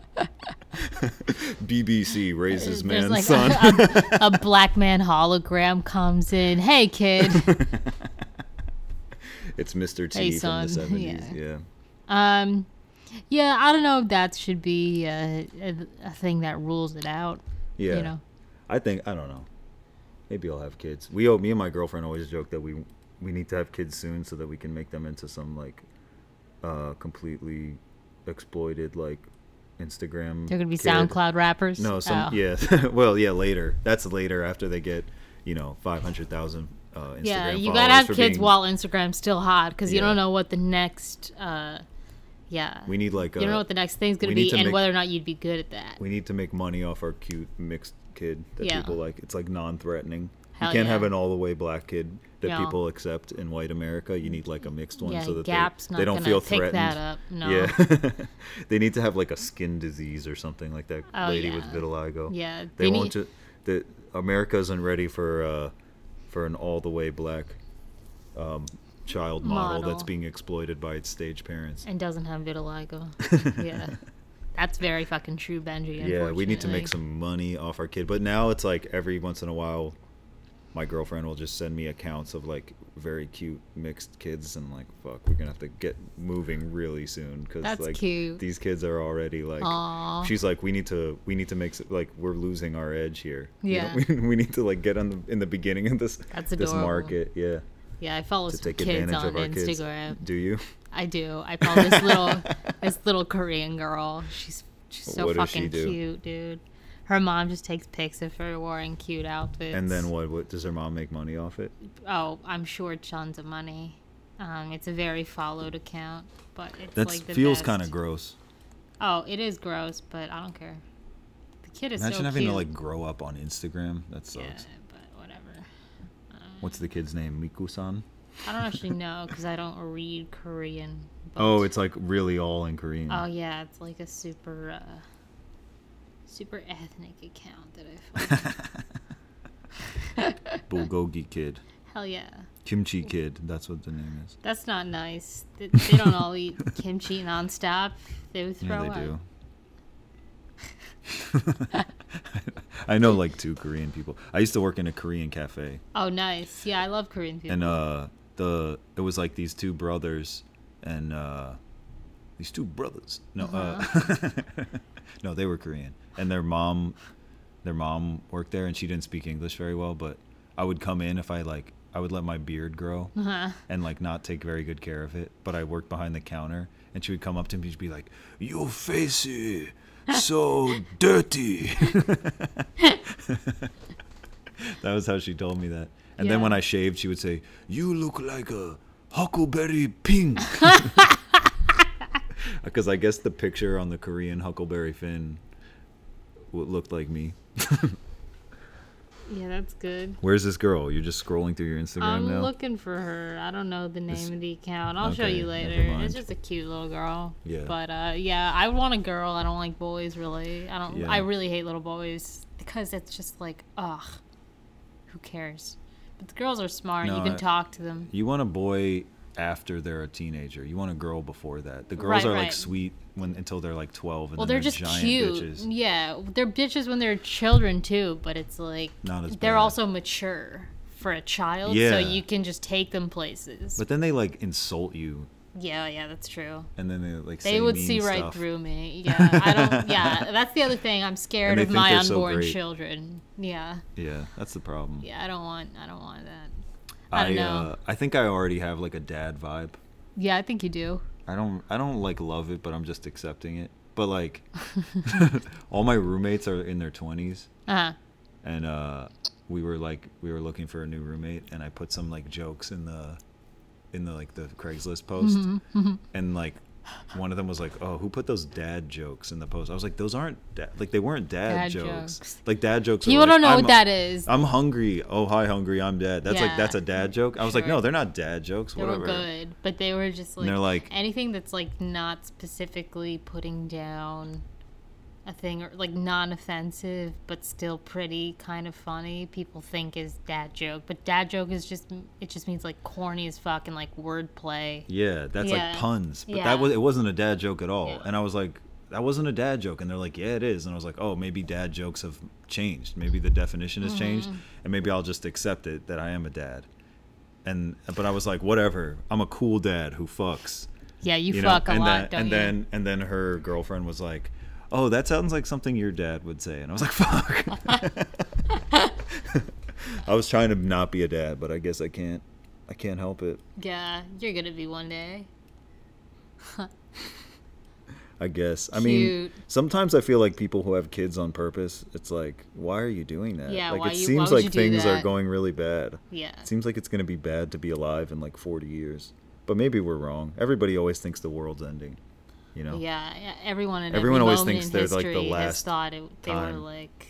D: BBC raises
C: There's
D: man's
C: like
D: son.
C: a, a, a black man hologram comes in. Hey, kid.
D: it's Mr. T
C: Hey,
D: from
C: son.
D: the 70s.
C: Yeah.
D: Yeah.
C: Um, yeah, I don't know if that should be a, a, a thing that rules it out.
D: Yeah.
C: You know,
D: I think I don't know. Maybe I'll have kids. We oh, me and my girlfriend always joke that we we need to have kids soon so that we can make them into some like uh completely exploited like Instagram.
C: they're gonna be
D: kid.
C: SoundCloud rappers.
D: No, some
C: Oh.
D: yeah. well, yeah, later. That's later after they get, you know, 500,000 uh Instagram
C: Yeah, you
D: followers
C: gotta have
D: for
C: kids
D: being-
C: while Instagram's still hot, because you
D: Yeah.
C: don't know what the next. Uh, yeah.
D: We need like
C: you don't know
D: a
C: what the next thing's gonna
D: we need
C: be,
D: to
C: and
D: make-
C: whether or not you'd be good at that.
D: we need to make money off our cute mixed kid that
C: Yeah.
D: people like. It's like non-threatening.
C: Hell
D: you can't
C: yeah.
D: have an all the way black kid that
C: No.
D: people accept in white America. You need like a mixed one
C: yeah,
D: so that
C: Gap's
D: they,
C: not
D: they don't
C: gonna
D: feel
C: pick
D: threatened.
C: that up. No.
D: Yeah. they need to have like a skin disease or something like that
C: Oh,
D: lady with
C: yeah.
D: vitiligo.
C: Yeah,
D: They,
C: they
D: won't
C: need-
D: ju- the America isn't ready for uh for an all the way black um child model, that's
C: Model.
D: being exploited by its stage parents.
C: And doesn't have vitiligo. yeah. That's very fucking true, Benji.
D: Yeah, we need to
C: unfortunately.
D: make some money off our kid. But now it's like every once in a while my girlfriend will just send me accounts of like very cute mixed kids and like fuck we're gonna have to get moving really soon because
C: That's
D: like
C: cute.
D: these kids are already like
C: Aw.
D: she's like we need to we need to make s- like we're losing our edge here We
C: Yeah.
D: don't- we, we need to like get on the in the beginning of this
C: That's
D: this
C: adorable.
D: market yeah
C: Yeah, I follow
D: to
C: some
D: take
C: kids
D: advantage
C: on
D: of our
C: Instagram.
D: kids do you
C: I do. I follow this little this little Korean girl. She's she's so
D: What does she
C: fucking
D: do?
C: cute, dude. Her mom just takes pics of her wearing cute outfits.
D: and then what what does her mom make money off it
C: oh, I'm sure tons of money. Um, it's a very followed account, but it's
D: that
C: like the
D: feels
C: best.
D: kind of gross
C: Oh, it is gross, but I don't care. The kid is
D: imagine
C: so
D: having
C: cute.
D: to like grow up on instagram that sucks
C: yeah, but whatever.
D: what's the kid's name miku-san
C: I don't actually know because I don't read Korean. But,
D: oh it's like really all in korean
C: oh yeah, it's like a super uh, super ethnic account that I follow.
D: bulgogi kid
C: Hell yeah.
D: kimchi kid that's what the name is
C: That's not nice. They, they don't all eat kimchi nonstop. They would
D: yeah
C: throw
D: they
C: up.
D: do i know like two korean people i used to work in a korean cafe
C: Oh, nice. Yeah, I love Korean people.
D: and uh the it was like these two brothers and uh these two brothers no
C: Uh-huh.
D: uh no they were korean and their mom their mom worked there and she didn't speak english very well but i would come in if i like i would let my beard grow and like not take very good care of it but i worked behind the counter and she would come up to me and she'd be like your face is so dirty that was how she told me that. And then
C: Yeah.
D: when I shaved, she would say, "You look like a huckleberry pink," because I guess the picture on the Korean huckleberry fin w- looked like me.
C: yeah, that's good.
D: Where's this girl? You're just scrolling through your Instagram
C: I'm
D: now.
C: looking for her. I don't know the name
D: This-
C: of the account. I'll show
D: okay,
C: you
D: never
C: later.
D: mind.
C: It's just a cute little girl.
D: Yeah.
C: But uh, yeah, I want a girl. I don't like boys really. I don't.
D: Yeah.
C: I really hate little boys because it's just like ugh, who cares? But the girls are smart.
D: No,
C: you can
D: I-
C: talk to them.
D: you want a boy after they're a teenager. You want a girl before that. The girls
C: Right,
D: are
C: right.
D: like sweet when until they're like 12 and
C: Well,
D: then
C: they're just
D: giant
C: cute.
D: bitches.
C: Yeah, they're bitches when they're children too. But it's like
D: Not as
C: they're
D: bad.
C: also mature for a child,
D: Yeah.
C: so you can just take them places.
D: But then they like insult you
C: yeah, yeah, that's true.
D: and then they like
C: They
D: say
C: would
D: mean
C: see right
D: stuff.
C: through me. Yeah, I don't. Yeah, that's the other thing. I'm scared
D: And they
C: of
D: think
C: my
D: they're so
C: unborn
D: great.
C: children. Yeah,
D: Yeah, that's the problem.
C: yeah. I don't want. I don't want that. I
D: I,
C: don't know.
D: uh, I think I already have like a dad vibe.
C: yeah, I think you do.
D: I don't I don't like love it, but I'm just accepting it. But like all my roommates are in their 20s
C: Uh huh.
D: and uh we were like we were looking for a new roommate and I put some like jokes in the in the like the Craigslist post
C: Mm-hmm,
D: and like one of them was like, "Oh, who put those dad jokes in the post?" I was like, "Those aren't da- like they weren't dad,
C: Dad
D: jokes.
C: jokes.
D: Like dad jokes." are
C: People
D: like,
C: don't know
D: I'm-
C: what that is.
D: I'm hungry. Oh, hi, hungry. I'm dead. That's
C: Yeah.
D: like that's a dad joke. I was like,
C: Sure.
D: no, they're not dad jokes.
C: They
D: Whatever.
C: were good, but they were just like,
D: And they're like-
C: anything that's like not specifically putting down a thing or like non-offensive but still pretty kind of funny. People think is dad joke, but dad joke is just it just means like corny as fuck and like wordplay.
D: Yeah, that's
C: Yeah.
D: like puns. But
C: Yeah.
D: that was it wasn't a dad joke at all.
C: Yeah.
D: And I was like, that wasn't a dad joke. And they're like, yeah, it is. And I was like, oh, maybe dad jokes have changed. Maybe the definition has changed,
C: Mm-hmm.
D: and maybe I'll just accept it that I am a dad. And but I was like, whatever. I'm a cool dad who fucks.
C: Yeah, you,
D: you know?
C: fuck a
D: and
C: lot,
D: then,
C: don't
D: and
C: you?
D: then and then her girlfriend was like, oh, that sounds like something your dad would say. And I was like, fuck. I was trying to not be a dad, but I guess I can't. I can't help it.
C: yeah, you're gonna be one day.
D: I guess. I mean,
C: Cute.
D: sometimes I feel like people who have kids on purpose, it's like, why are you doing that?
C: Yeah,
D: like
C: why
D: it
C: you- why
D: seems
C: would
D: like
C: you do
D: things are
C: that?
D: going really bad.
C: Yeah.
D: It seems like it's going to be bad to be alive in like 40 years. But maybe we're wrong. Everybody always thinks the world's ending, you know?
C: Yeah, yeah, everyone in every
D: Everyone always
C: moment
D: thinks
C: in
D: they're, like, the
C: history has
D: last
C: thought it, they were
D: time.
C: like,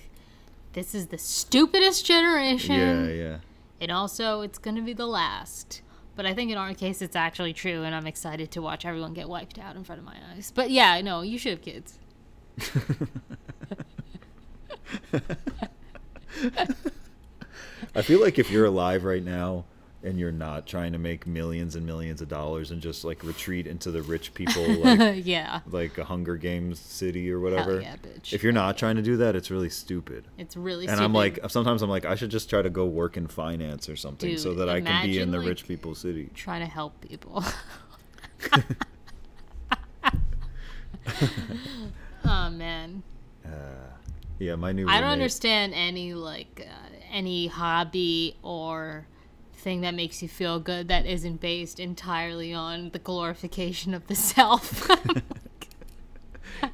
C: "This is the stupidest generation."
D: Yeah, yeah.
C: And also, it's going to be the last. But I think in our case, it's actually true, and I'm excited to watch everyone get wiped out in front of my eyes. But yeah, no, you should have kids.
D: I feel like if you're alive right now and you're not trying to make millions and millions of dollars and just like retreat into the rich people like
C: yeah.
D: like a Hunger Games city or
C: Hell
D: whatever.
C: yeah, bitch.
D: If you're not trying to do that, it's really stupid.
C: It's really
D: and
C: stupid.
D: I'm like, sometimes I'm like, I should just try to go work in finance or something so
C: Dude,
D: that I can be in
C: imagine,
D: the
C: like-
D: rich people city.
C: try to help people. oh man.
D: Yeah, my new.
C: I don't
D: roommate-
C: understand any like uh, any hobby or thing that makes you feel good that isn't based entirely on the glorification of the self.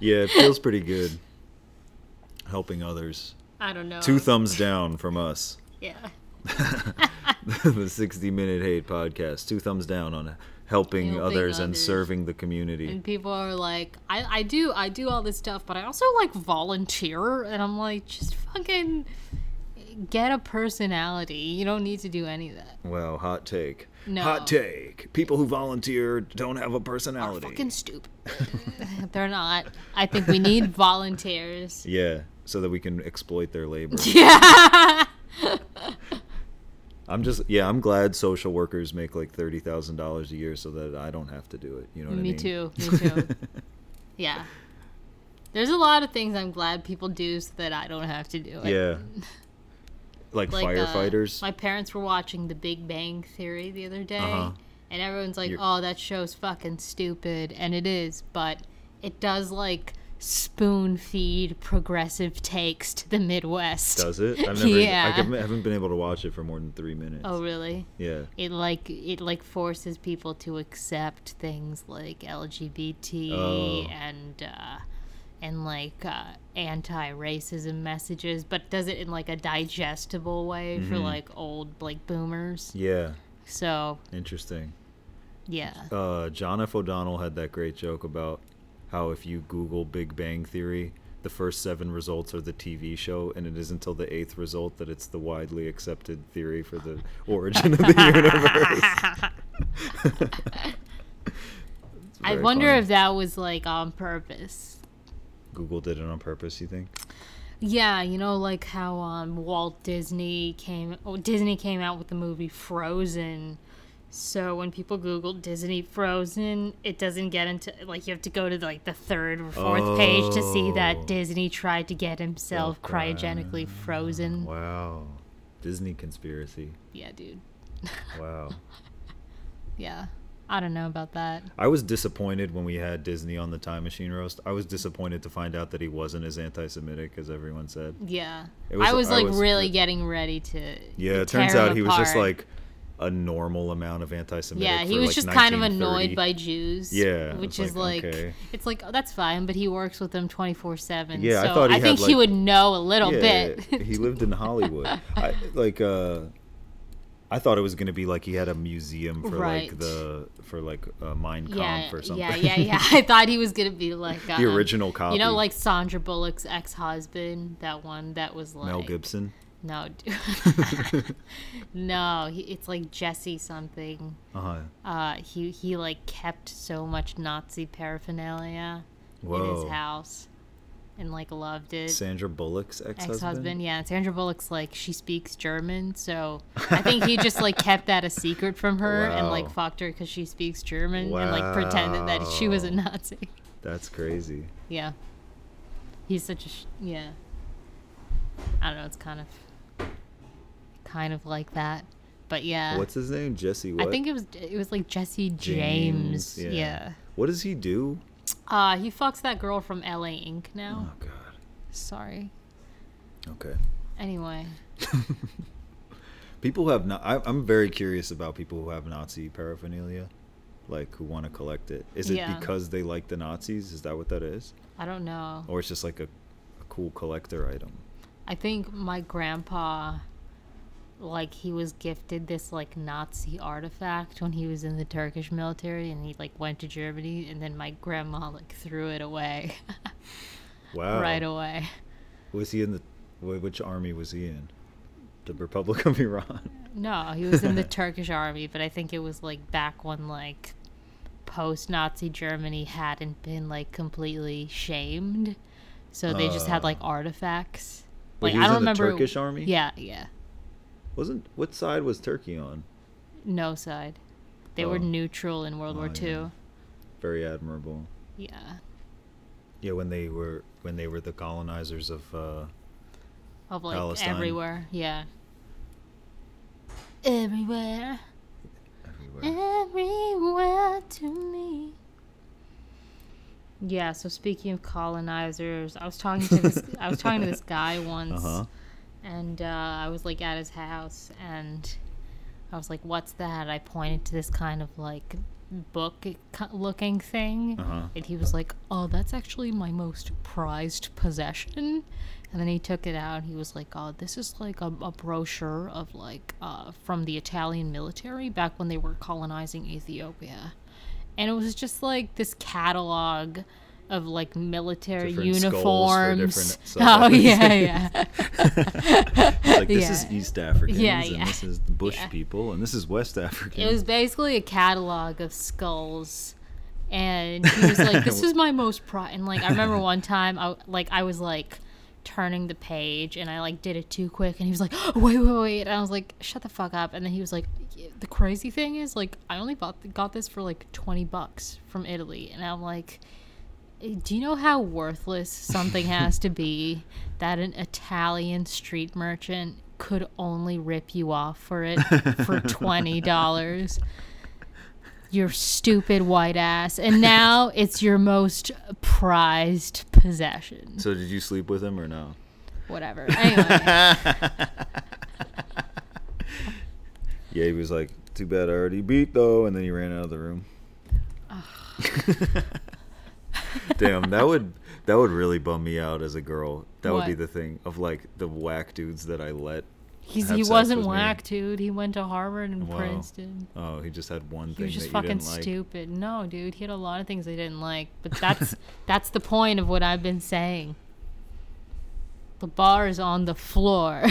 D: Yeah, it feels pretty good. Helping others.
C: I don't know.
D: Two thumbs down from us.
C: yeah.
D: the 60 Minute Hate Podcast. Two thumbs down on helping,
C: Helping
D: others, and
C: others.
D: serving the community.
C: And people are like, I, I do I do all this stuff, but I also like volunteer and I'm like, just fucking get a personality. You don't need to do any of that.
D: Wow, hot take.
C: No.
D: Hot take. People who volunteer don't have a personality.
C: Fucking stupid. They're not. I think we need volunteers.
D: Yeah, so that we can exploit their labor.
C: Yeah.
D: I'm just yeah, I'm glad social workers make like thirty thousand dollars a year so that I don't have to do it. You know what I
C: Me
D: mean?
C: too. Me too. yeah. There's a lot of things I'm glad people do so that I don't have to do it.
D: Yeah. Like,
C: Like, uh,
D: firefighters.
C: my parents were watching The Big Bang Theory the other day,
D: Uh-huh.
C: and everyone's like,
D: You're-
C: "Oh, that show's fucking stupid," and it is, but it does like spoon feed progressive takes to the Midwest.
D: Does it? I've never I
C: Yeah.
D: haven't- haven't been able to watch it for more than three minutes.
C: Oh, really?
D: Yeah.
C: it like it like forces people to accept things like LGBT
D: Oh.
C: and uh, and like uh, anti-racism messages, but does it in like a digestible way
D: Mm-hmm.
C: for like old like boomers.
D: Yeah.
C: So
D: Interesting.
C: yeah,
D: uh, John F. O'Donnell had that great joke about how if you Google Big Bang Theory, the first seven results are the TV show, and it is until the eighth result that it's the widely accepted theory for the origin of the universe. It's
C: I
D: very
C: wonder
D: funny.
C: if that was like on purpose.
D: Google did it on purpose. You think?
C: Yeah, you know, like how um, Walt Disney came. Oh, Disney came out with the movie Frozen. So when people Google Disney Frozen, it doesn't get into like you have to go to like the third or fourth page to see
D: Oh.
C: that Disney tried to get himself cryogenically frozen.
D: Wow, Disney conspiracy.
C: Yeah, dude.
D: Wow.
C: Yeah, I don't know about that.
D: I was disappointed when we had Disney on the Time Machine roast. I was disappointed to find out that he wasn't as anti-Semitic as everyone said.
C: Yeah,
D: It was-
C: I was
D: I
C: like
D: was-
C: really getting ready to.
D: Yeah,
C: to
D: it turns
C: tear him
D: out he was just
C: apart.
D: like a normal amount of anti-Semitic.
C: Yeah, he
D: for,
C: was
D: like,
C: just kind of annoyed
D: 1930.
C: by Jews.
D: Yeah,
C: which
D: it's
C: is
D: like,
C: like,
D: okay.
C: it's like oh, that's fine, but he works with them twenty four seven.
D: Yeah, I
C: so I,
D: thought he had,
C: think
D: like-
C: he would know a little
D: Yeah,
C: bit.
D: he lived in Hollywood. I, like, uh, I thought it was gonna be like he had a museum for like
C: Right.
D: the for like uh, Mein Kampf
C: yeah,
D: or something.
C: yeah, yeah, yeah. I thought he was gonna be like um,
D: the original copy.
C: You know, like Sandra Bullock's ex husband, that one that was like
D: Mel Gibson.
C: No, dude. no, he, it's like Jesse something.
D: Uh huh.
C: Uh, he he like kept so much Nazi paraphernalia in
D: Whoa.
C: his house, and like loved it.
D: Sandra Bullock's ex-husband.
C: ex-husband yeah and sandra bullock's like she speaks german so i think he just like kept that a secret from her and like
D: Wow.
C: fucked her because she speaks german and like pretended that she was a
D: Wow.
C: nazi
D: That's crazy.
C: yeah he's such a sh- yeah i don't know it's kind of kind of like that but yeah
D: What's his name? Jesse. What?
C: Uh, i think it was it was like jesse james, yeah,
D: What does he do?
C: uh he fucks that girl from la inc now
D: Oh God.
C: sorry
D: Okay.
C: anyway
D: People who have not. I, I'm very curious about people who have Nazi paraphernalia, like who want to collect it. Is it
C: Yeah.
D: because they like the Nazis? Is that what that is,
C: i don't know
D: or it's just like a, a cool collector item?
C: I think my grandpa, like, he was gifted this, like, Nazi artifact when he was in the Turkish military and he, like, went to Germany and then my grandma, like, threw it away
D: Wow.
C: right away.
D: Was he in the? wh- Which army was he in? The Republic of Iran.
C: No, he was in the Turkish army, but I think it was, like, back when, like, post Nazi Germany hadn't been, like, completely shamed. So they just had, like, artifacts.
D: Uh. Wait,
C: Like,
D: he
C: I
D: was
C: don't
D: in the
C: remember.
D: Turkish army?
C: Yeah, yeah.
D: Wasn't what side was Turkey on?
C: no side. They were
D: Oh.
C: neutral in World War
D: Oh, yeah.
C: Two.
D: Very admirable.
C: Yeah.
D: Yeah, when they were when they were the colonizers of uh,
C: Of like
D: Palestine.
C: everywhere. Yeah. Everywhere. Mm-hmm.
D: everywhere.
C: Everywhere to me. Yeah, so speaking of colonizers, I was talking to this I was talking to this guy once
D: Uh huh.
C: and uh, I was like at his house, and I was like, "What's that?" I pointed to this kind of like book-looking thing,
D: Uh-huh.
C: and he was like, "Oh, that's actually my most prized possession." And then he took it out, and he was like, "Oh, this is like a, a brochure of like uh, from the Italian military back when they were colonizing Ethiopia." and it was just like this catalog of like military
D: Different skulls for
C: uniforms.
D: different South
C: Oh yeah,
D: Africans.
C: yeah.
D: It's like this is
C: Yeah.
D: East Africans
C: Yeah,
D: and
C: yeah.
D: this is the Bush
C: Yeah.
D: people and this is West Africans.
C: It was basically a catalog of skulls. And he was like, "This is my most pri." And like, I remember one time, I like, I was like turning the page, and I like did it too quick, and he was like, "Oh, "Wait, wait, wait!" And I was like, "Shut the fuck up!" And then he was like, "The crazy thing is, like, I only bought got this for like twenty bucks from Italy," and I'm like, Do you know how worthless something has to be that an Italian street merchant could only rip you off for it for twenty dollars? Your stupid white ass, and now it's your most prized possession.
D: so did you sleep with him or no?
C: Whatever. Anyway,
D: Yeah, he was like, "Too bad I already beat though," and then he ran out of the room. Damn, that would that would really bum me out as a girl. That would be
C: What?
D: the thing of like the whack dudes that I let.
C: he's,
D: Have
C: he
D: sex
C: wasn't
D: with me.
C: whack, dude. He went to Harvard and
D: Wow.
C: Princeton.
D: Oh, he just had one
C: He
D: thing
C: was just
D: that you
C: fucking
D: didn't like.
C: stupid. No, dude, he had a lot of things I didn't like, but that's that's the point of what I've been saying. The bar is on the floor.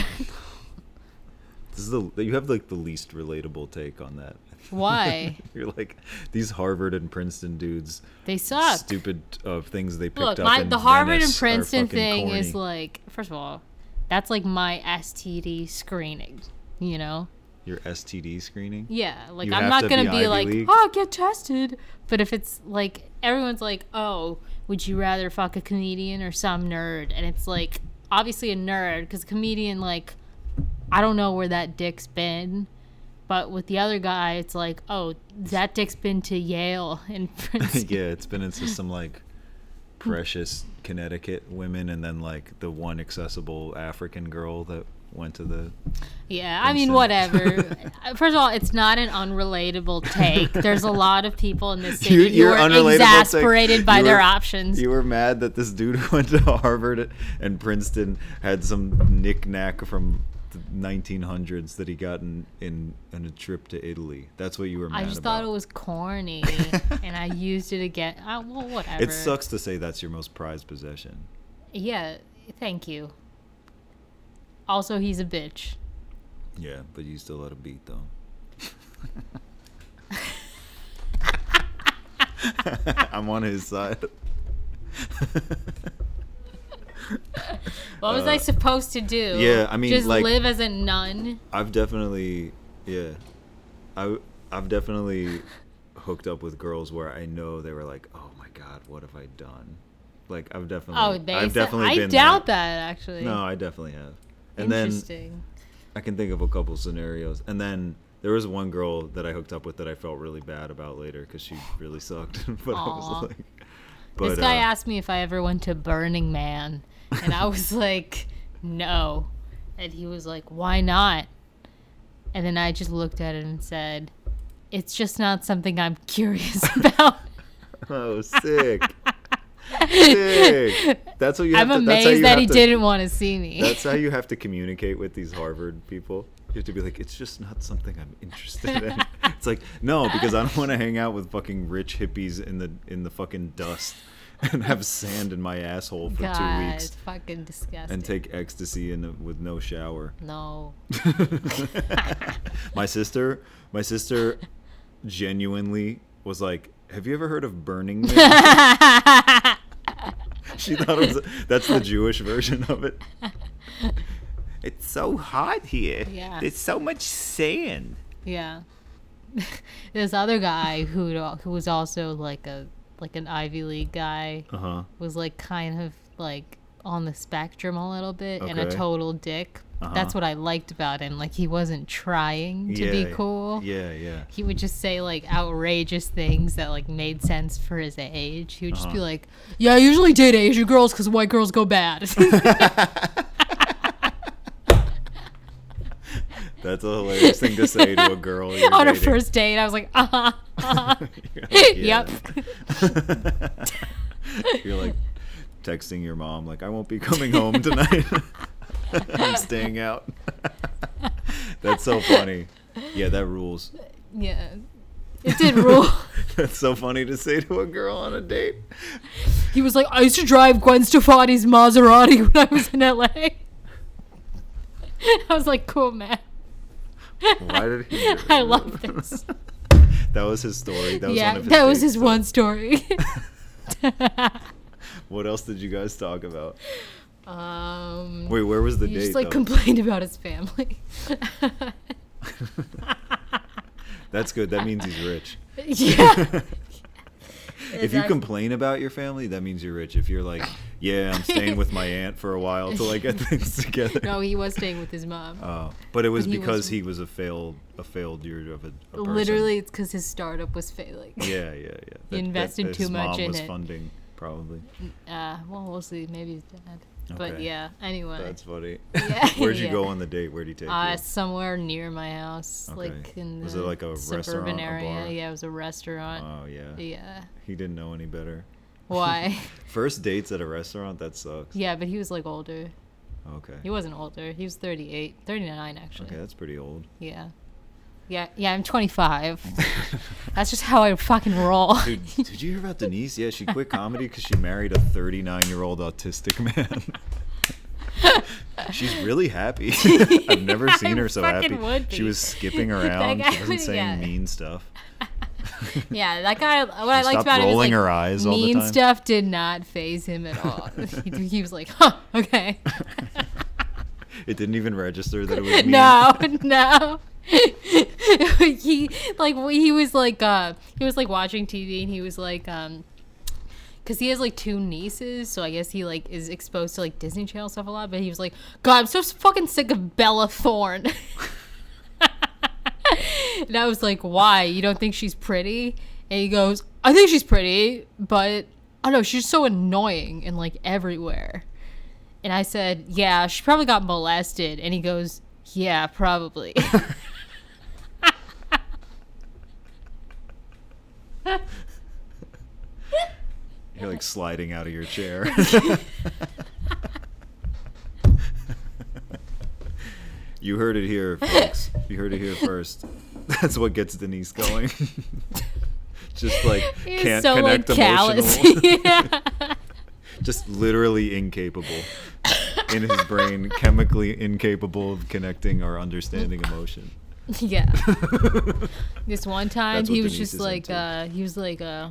D: This is the you have like the least relatable take on that.
C: Why?
D: You're like these Harvard and Princeton dudes.
C: They suck.
D: Stupid uh, things they picked
C: Look,
D: up.
C: my
D: in
C: the Harvard and
D: Venice are
C: Princeton
D: fucking
C: thing
D: corny.
C: is like, first of all, that's like my STD screening. You know?
D: your STD screening.
C: Yeah, like
D: You
C: I'm
D: have
C: not
D: to
C: gonna
D: be
C: be
D: Ivy
C: like,
D: League?
C: oh, get tested. But if it's like everyone's like, oh, would you rather fuck a comedian or some nerd? And it's like obviously a nerd because comedian like I don't know where that dick's been. But with the other guy, it's like, oh, that dick's been to Yale and Princeton.
D: yeah, it's been into some like precious Connecticut women, and then like the one accessible African girl that went to the.
C: Yeah, I mean,
D: Princeton.
C: whatever. Uh, First of all, it's not an unrelatable take. There's a lot of people in this city
D: You-
C: who
D: your
C: are
D: unrelatable take-
C: exasperated by
D: you
C: their
D: were-
C: options.
D: You were mad that this dude who went to Harvard and Princeton had some knickknack from the 1900s that he got in in, in a trip to Italy. That's what you were mad
C: I just
D: about.
C: thought it was corny, and I used it again. Uh, well, whatever.
D: It sucks to say that's your most prized possession.
C: Yeah, thank you. Also, he's a bitch.
D: Yeah, but you still let him beat though. I'm on his side.
C: What was I supposed to do?
D: Uh, yeah, I mean,
C: just
D: like-
C: live as a nun.
D: I've definitely, yeah, I I've definitely hooked up with girls where I know they were like, oh my god, what have I done? Like I've definitely,
C: Oh, they.
D: I've
C: said-
D: definitely
C: I
D: been
C: doubt
D: there.
C: that, actually.
D: No, I definitely have. And then
C: Interesting.
D: I can think of a couple scenarios. And then there was one girl that I hooked up with that I felt really bad about later because she really sucked. but I
C: Aw.
D: was like, but
C: this guy
D: uh,
C: asked me if I ever went to Burning Man, and I was like, no. And he was like, why not? And then I just looked at him and said, it's just not something I'm curious about.
D: oh, sick. sick. That's what you have
C: I'm
D: to, that's
C: amazed
D: how you
C: that
D: have
C: he
D: to-
C: didn't want to see me.
D: That's how you have to communicate with these Harvard people. You have to be like, it's just not something I'm interested in. it's like, no, because I don't want to hang out with fucking rich hippies in the in the fucking dust and have sand in my asshole for
C: God,
D: two weeks
C: fucking disgusting.
D: and take ecstasy in with no shower.
C: no.
D: my sister, my sister, genuinely was like, "Have you ever heard of Burning Man?" she thought it was that's the Jewish version of it. It's so hot here.
C: Yeah.
D: There's so much sand.
C: Yeah. this other guy who who was also like a like an Ivy League guy
D: Uh huh.
C: was like kind of like on the spectrum a little bit and a
D: Okay.
C: total dick.
D: Uh-huh.
C: That's what I liked about him. Like he wasn't trying to be cool.
D: Yeah, yeah.
C: He would just say like outrageous things that like made sense for his age. He would
D: Uh-huh.
C: just be like, "Yeah, I usually date Asian girls because white girls go bad."
D: That's a hilarious thing to say to a girl. You're
C: on our
D: dating.
C: first date, I was like, "Uh huh."
D: You're like,
C: Yep.
D: "Yeah." You're like texting your mom, like, I won't be coming home tonight. I'm staying out. That's so funny. Yeah, that rules.
C: Yeah, it did rule.
D: That's so funny to say to a girl on a date.
C: he was like, "I used to drive Gwen Stefani's Maserati when I was in LA." I was like, "Cool, man.
D: Why did he? do
C: I
D: that?
C: love this."
D: That was his story. That was
C: yeah,
D: one of his
C: that was
D: dates.
C: his one story.
D: What else did you guys talk about?
C: um,
D: Wait, where was the
C: he
D: date?
C: just like
D: though?
C: complained about his family.
D: That's good. That means he's rich.
C: yeah.
D: If you complain about your family, that means you're rich. If you're like, yeah, I'm staying with my aunt for a while till I get things together.
C: no, he was staying with his mom.
D: Oh, but it was
C: But he
D: because
C: was-
D: he was a failed, a failed year of a, a person.
C: Literally, it's because his startup was failing.
D: Yeah, yeah, yeah. That-
C: invested
D: that,
C: too
D: his
C: much
D: mom
C: in
D: was
C: it.
D: funding, probably.
C: Uh, well, we'll see. Maybe his dad. But
D: Okay.
C: yeah. Anyway.
D: That's funny.
C: Yeah,
D: Where'd you
C: yeah.
D: go on the date? Where'd he take
C: Uh,
D: you?
C: somewhere near my house,
D: Okay.
C: like in the
D: Was it like a
C: suburban
D: restaurant, a
C: area.
D: bar?
C: Yeah, it was a restaurant.
D: Oh yeah.
C: yeah.
D: He didn't know any better.
C: Why?
D: First dates at a restaurant. That sucks.
C: yeah, but he was like older.
D: Okay.
C: He wasn't older. He was 38, 39 actually.
D: Okay, that's pretty old.
C: Yeah. Yeah, yeah, I'm 25. That's just how I fucking roll.
D: Dude, did you hear about Denise? Yeah, she quit comedy because she married a 39 year old autistic man. She's really happy. I've never seen her so happy.
C: fucking would
D: She
C: be.
D: was skipping around.
C: guy
D: She wasn't
C: was-
D: saying
C: yeah.
D: mean stuff.
C: yeah, that guy. What I
D: She
C: liked
D: stopped
C: about him is
D: rolling
C: like
D: her eyes all the
C: mean
D: time.
C: stuff did not phase him at all. he, he was like, huh, okay.
D: It didn't even register that it was mean.
C: no no he like he was like uh he was like watching tv and he was like um because he has like two nieces so i guess he like is exposed to like disney channel stuff a lot but he was like god i'm so fucking sick of bella thorne and i was like why you don't think she's pretty and he goes i think she's pretty but i don't know she's so annoying and like everywhere and I said, Yeah, she probably got molested. And he goes, Yeah, probably.
D: You're like sliding out of your chair. you heard it here, folks. You heard it here first. That's what gets Denise going. Just like
C: He was
D: can't
C: so like
D: connect
C: callous.
D: emotional.
C: yeah.
D: just literally incapable in his brain, chemically incapable of connecting or understanding emotion.
C: yeah. This one time
D: That's
C: he
D: what
C: was
D: Denise
C: just
D: is
C: like
D: into.
C: uh he was like uh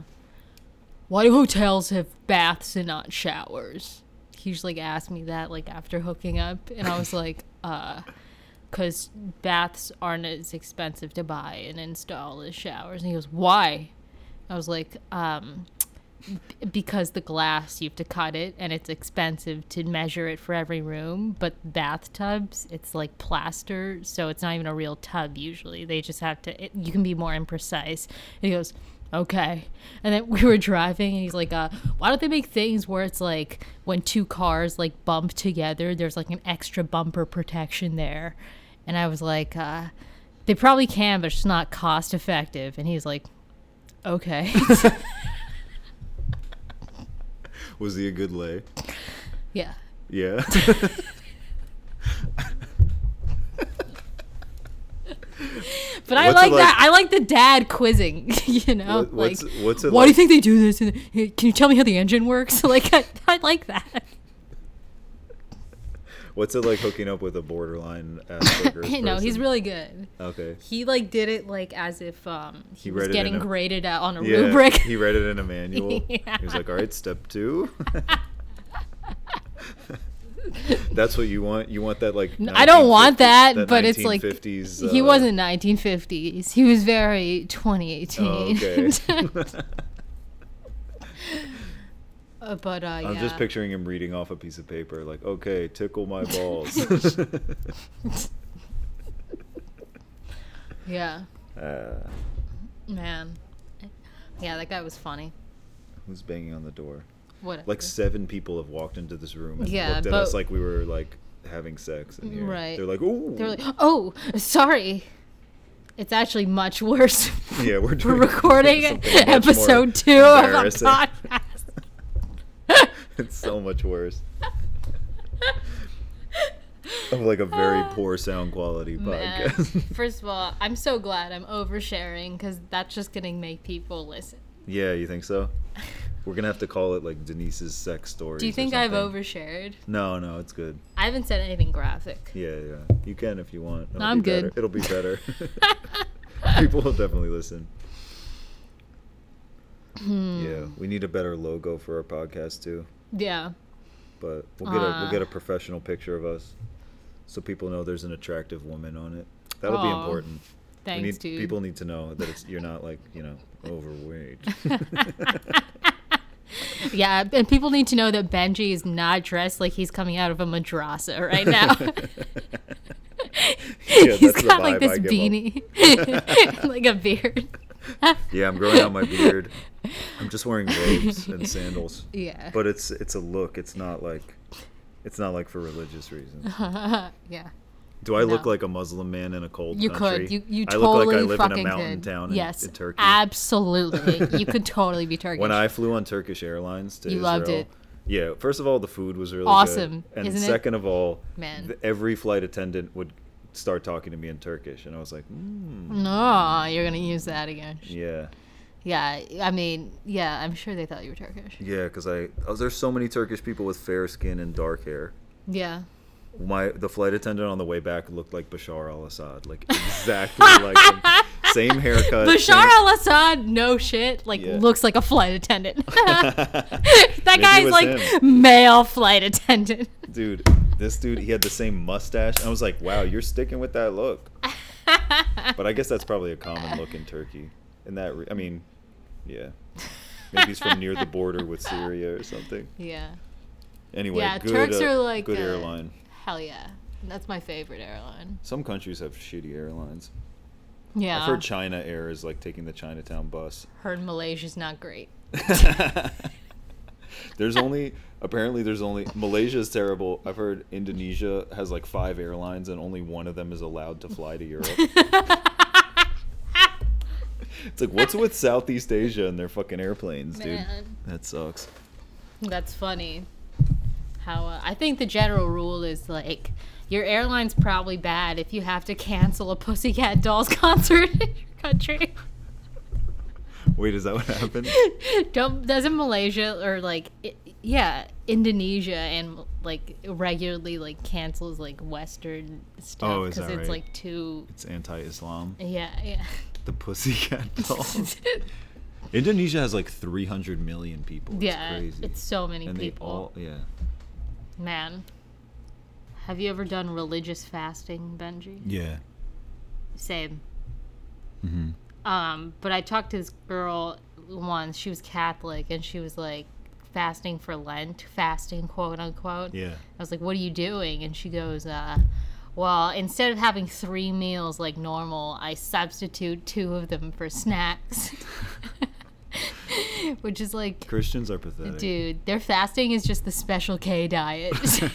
C: why do hotels have baths and not showers? He just like asked me that like after hooking up and I was like, uh because baths aren't as expensive to buy and install as showers. And he goes, Why? I was like, um, b- because the glass, you have to cut it and it's expensive to measure it for every room. But bathtubs, it's like plaster, so it's not even a real tub usually. They just have to, it, you can be more imprecise. And he goes, okay. And then we were driving and he's like, uh, why don't they make things where it's like when two cars like bump together, there's like an extra bumper protection there? And I was like, uh, they probably can, but it's not cost effective. And he's like, okay.
D: Was he a good lay?
C: yeah.
D: Yeah.
C: But I
D: What's
C: like,
D: it like-
C: that. I like the dad quizzing, you know?
D: What- what's
C: like,
D: what's it
C: why do you
D: like?
C: think they do this? And hey, can you tell me how the engine works? like, I, I like that.
D: What's it like hooking up with a borderline Asperger's
C: no, he's
D: person?
C: really good.
D: okay.
C: He like did it like as if um, he,
D: He
C: was
D: read it in
C: getting
D: a-
C: graded out on a
D: Yeah,
C: rubric.
D: he read it in a manual.
C: Yeah.
D: He was like, "All right, step two. That's what you want. You want that like.
C: I don't want
D: 1950s
C: that, but it's like
D: 1950s,
C: he
D: uh,
C: wasn't 1950s. He was very 2018.
D: Oh, okay.
C: Uh, but uh,
D: I'm
C: yeah,
D: just picturing him reading off a piece of paper, like, "Okay, tickle my balls."
C: yeah,
D: uh,
C: man, yeah, that guy was funny.
D: who's banging on the door?
C: Whatever.
D: Like seven people have walked into this room and
C: Yeah,
D: looked at
C: but-
D: us like we were like having sex in here.
C: Right.
D: They're like, "Ooh."
C: They're like, oh, sorry. It's actually much worse.
D: "Yeah, we're
C: We're
D: doing
C: recording
D: something much more
C: episode two of our
D: embarrassing.
C: podcast.
D: It's so much worse. of like a very poor sound quality
C: Ah. Man,
D: podcast.
C: First of all, I'm so glad I'm oversharing because that's just gonna make people listen.
D: yeah, you think so? We're gonna have to call it like Denise's sex story.
C: Do you think I've overshared?
D: No, no, it's good.
C: I haven't said anything graphic.
D: Yeah, yeah. You can if you want. It'll
C: I'm
D: be better.
C: good.
D: It'll be better. People will definitely listen.
C: Hmm.
D: Yeah, we need a better logo for our podcast too,
C: Yeah.
D: but we'll get a
C: Ah.
D: we'll get a professional picture of us, so people know there's an attractive woman on it. That'll be
C: Aw,
D: important.
C: Thanks,
D: we need,
C: dude.
D: People need to know that it's, you're not like you know overweight.
C: Yeah, and people need to know that Benji is not dressed like he's coming out of a madrasa right now. he's
D: that's the
C: got like
D: vibe
C: this
D: I give
C: beanie, like a beard.
D: yeah, I'm growing out my beard. I'm just wearing robes and sandals.
C: Yeah.
D: But it's it's a look. It's not like it's not like for religious reasons.
C: yeah.
D: Do I look
C: Uh-huh. No.
D: like a Muslim man in a cold
C: You
D: country?
C: could. You you
D: I
C: totally
D: look like I live
C: fucking
D: in a mountain
C: could.
D: town in,
C: yes,
D: in Turkey.
C: Absolutely. you could totally be Turkish.
D: when I flew on Turkish Airlines to
C: You
D: Israel,
C: loved it.
D: yeah. First of all, the food was really
C: Awesome,
D: good, and
C: isn't it?
D: second of all,
C: Man.
D: th- every flight attendant would start talking to me in Turkish, and I was like, mm,
C: no, you're gonna use that again.
D: yeah,
C: Yeah, I mean, yeah, I'm sure they thought you were Turkish.
D: yeah, because I oh, there's so many Turkish people with fair skin and dark hair.
C: Yeah.
D: my the flight attendant on the way back looked like Bashar al-Assad, like exactly like him. Same haircut.
C: Bashar
D: same-
C: al-Assad, no shit, like
D: Yeah.
C: looks like a flight attendant. that guy's
D: was
C: like male flight attendant.
D: dude, this dude, he had the same mustache. I was like, wow, you're sticking with that look. but I guess that's probably a common look in Turkey. In that, re- I mean, yeah, maybe he's from near the border with Syria or something.
C: Yeah.
D: Anyway,
C: Yeah,
D: good,
C: Turks
D: uh,
C: are like,
D: good
C: uh,
D: airline.
C: Hell yeah. That's my favorite airline.
D: Some countries have shitty airlines.
C: Yeah.
D: I've heard China Air is like taking the Chinatown bus.
C: Heard Malaysia's not great.
D: There's only apparently there's only Malaysia is terrible. I've heard Indonesia has like five airlines and only one of them is allowed to fly to Europe. it's like what's with Southeast Asia and their fucking airplanes, dude?
C: Man.
D: That sucks.
C: That's funny. How uh, I think the general rule is like your airline's probably bad if you have to cancel a Pussycat Dolls concert in your country.
D: Wait, is that what happened?
C: Don't doesn't Malaysia or like i yeah Indonesia and like regularly like cancels like Western stuff
D: Oh, is that
C: it's
D: right?
C: like too
D: It's anti-Islam.
C: yeah yeah
D: The pussycat dolls. Indonesia has like 300 million people. It's
C: yeah
D: crazy.
C: it's so many
D: and
C: people
D: they all yeah.
C: man. Have you ever done religious fasting, Benji?
D: Yeah.
C: Same.
D: Mm-hmm.
C: Um, but I talked to this girl once. She was Catholic, and she was like fasting for Lent, fasting quote unquote.
D: Yeah.
C: I was like, "What are you doing?" And she goes, uh, "Well, instead of having three meals like normal, I substitute two of them for snacks." Which is like,
D: Christians are pathetic.
C: dude, their fasting is just the special K diet.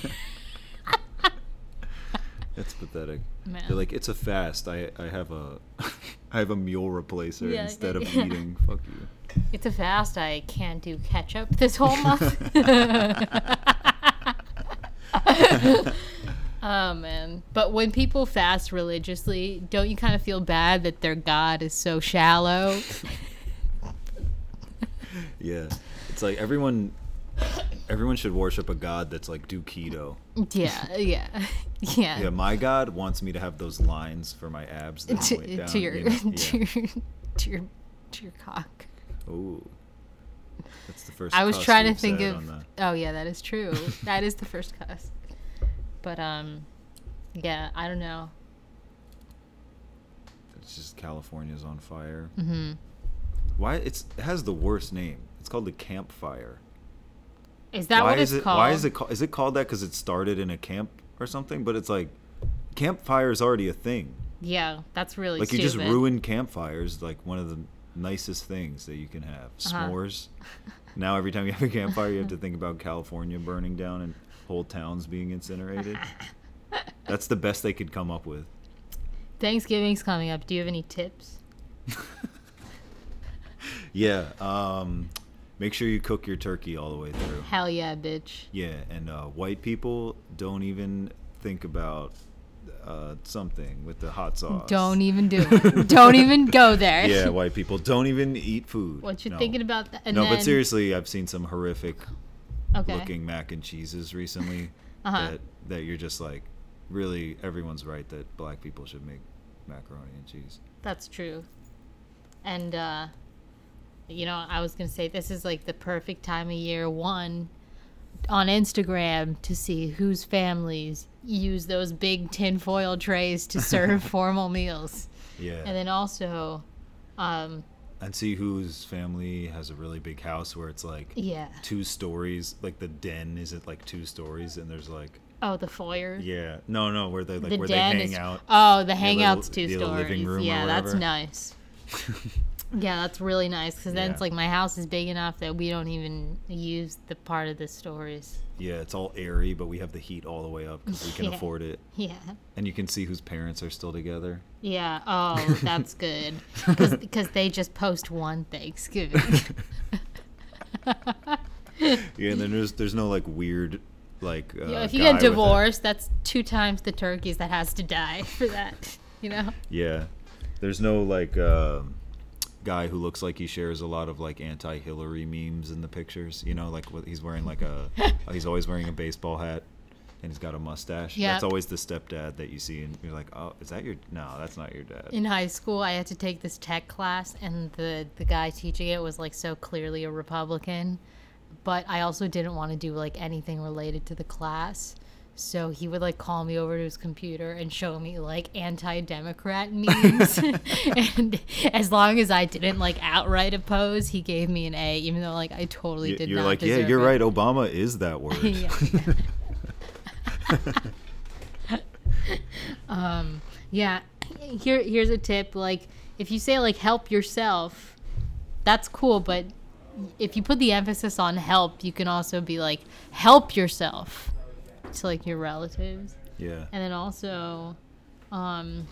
D: That's pathetic.
C: Man.
D: They're like, it's a fast. I, I have a I have a mule replacer
C: Yeah,
D: instead of
C: yeah.
D: eating. Fuck you.
C: it's a fast. I can't do ketchup this whole month. Oh man. But when people fast religiously, don't you kind of feel bad that their God is so shallow?
D: yeah. It's like everyone everyone should worship a god that's like do keto.
C: yeah, yeah. Yeah.
D: Yeah, my god wants me to have those lines for my abs that
C: to,
D: went down.
C: to your
D: you know?
C: to
D: yeah.
C: your to your to your cock.
D: Ooh. That's the first
C: I was
D: cuss
C: trying to
D: we've
C: think
D: said
C: of
D: on the-
C: Oh yeah, that is true. that is the first cuss. But um, yeah, I don't know.
D: It's just California's on fire.
C: Mm-hmm.
D: Why it's it has the worst name. It's called the campfire.
C: Is that
D: why
C: what it's
D: is it,
C: called?
D: Why is it ca- is it called that? Because it started in a camp or something. But it's like campfire is already a thing.
C: Yeah, that's really
D: Like
C: stupid.
D: you just ruined campfires. Like one of the nicest things that you can have.
C: Uh-huh.
D: S'mores. now every time you have a campfire, you have to think about California burning down and whole towns being incinerated. That's the best they could come up with.
C: Thanksgiving's coming up. Do you have any tips?
D: Yeah. Um, make sure you cook your turkey all the way through.
C: Hell yeah, bitch.
D: Yeah, and uh, white people don't even think about uh, something with the hot sauce.
C: Don't even do it. don't even go there.
D: Yeah, white people don't even eat food.
C: What you
D: No.
C: thinking about that? And
D: no,
C: then,
D: but seriously, I've seen some horrific
C: okay.
D: looking mac and cheeses recently
C: Uh-huh.
D: that that you're just like, really, everyone's right that black people should make macaroni and cheese.
C: That's true. And uh you know, I was going to say this is like the perfect time of year one on Instagram to see whose families use those big tinfoil trays to serve formal meals.
D: Yeah,
C: And then also um
D: and see whose family has a really big house where it's like
C: yeah.
D: two stories, like the den is it like two stories, and there's like
C: Oh, the foyer.
D: Yeah. No, no, where they like
C: the
D: where they
C: den
D: hang
C: is
D: out.
C: oh the
D: little-
C: hangouts two
D: the little
C: stories
D: living room or
C: yeah that's
D: whatever.
C: nice yeah that's really nice because then
D: Yeah.
C: it's like my house is big enough that we don't even use the part of the stories
D: Yeah, it's all airy, but we have the heat all the way up because we can
C: Yeah.
D: afford it,
C: yeah
D: and you can see whose parents are still together.
C: yeah oh that's good because they just post one thanksgiving
D: Yeah, and then there's there's no like weird like. Uh,
C: if you
D: guy
C: get
D: with a-
C: divorced that's two times the turkeys that has to die for that you know
D: Yeah, there's no like um guy who looks like he shares a lot of like anti-Hillary memes in the pictures. You know, like what he's wearing like a he's always wearing a baseball hat. And he's got a mustache.
C: Yep.
D: That's always the stepdad that you see, and you're like, "Oh, is that your? No, that's not your dad."
C: in high school i had to take this tech class and the, the guy teaching it was like so clearly a republican but i also didn't want to do like anything related to the class so he would like call me over to his computer and show me like anti-democrat memes and as long as i didn't like outright oppose he gave me an a even though like i totally
D: Y-
C: did
D: you're
C: not
D: like, yeah,
C: deserve
D: you're
C: it."
D: right. Obama is that word.
C: Yeah. um, yeah. Here, here's a tip. Like, if you say like help yourself, that's cool. But if you put the emphasis on help, you can also be like help yourself to like your relatives,
D: Yeah.
C: and then also, um,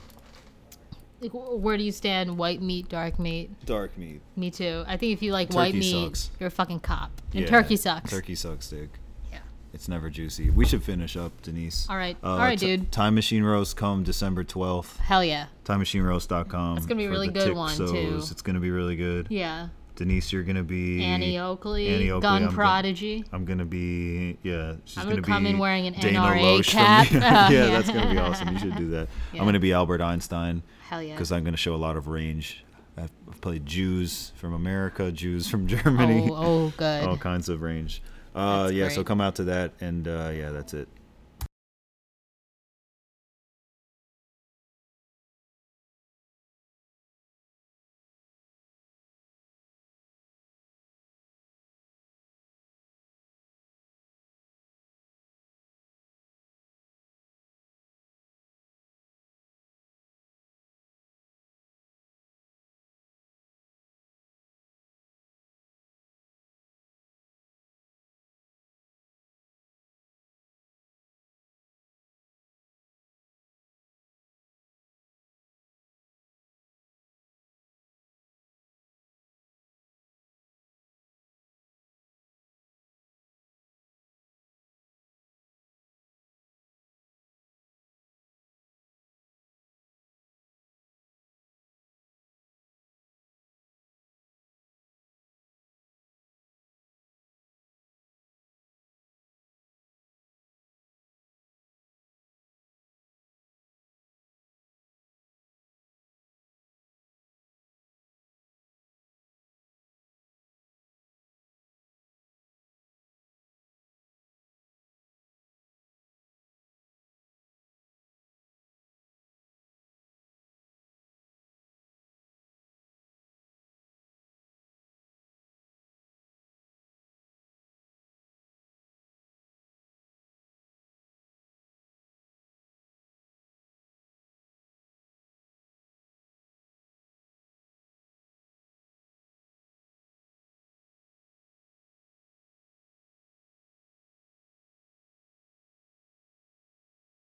C: like, wh- where do you stand? White meat, dark meat.
D: Dark meat.
C: Me too. I think if you like white
D: Turkey
C: meat,
D: sucks.
C: you're a fucking cop. And
D: Yeah.
C: turkey sucks.
D: Turkey sucks, dick.
C: Yeah.
D: It's never juicy. We should finish up, Denise.
C: All right. All right,
D: t-
C: dude.
D: Time Machine Roast come December 12th.
C: Hell yeah.
D: TimeMachineRoast.com. It's
C: gonna be a really good one, too.
D: It's going to be really good.
C: Yeah.
D: Denise, you're going to be.
C: Annie Oakley,
D: Annie Oakley,
C: gun
D: I'm go-
C: prodigy.
D: I'm going to be. Yeah. She's
C: I'm
D: going
C: gonna
D: to
C: come
D: be
C: in wearing an
D: Dana
C: NRA
D: Loesch from-
C: cap.
D: yeah,
C: Uh, yeah.
D: that's going to be awesome. You should do that.
C: Yeah.
D: I'm going to be Albert Einstein.
C: Hell yeah.
D: because I'm going to show a lot of range. I've I've played Jews from America, Jews from Germany,
C: Oh, oh, good.
D: all kinds of range. Uh,
C: That's
D: yeah, so
C: great.
D: come out to that, and uh, yeah, that's it.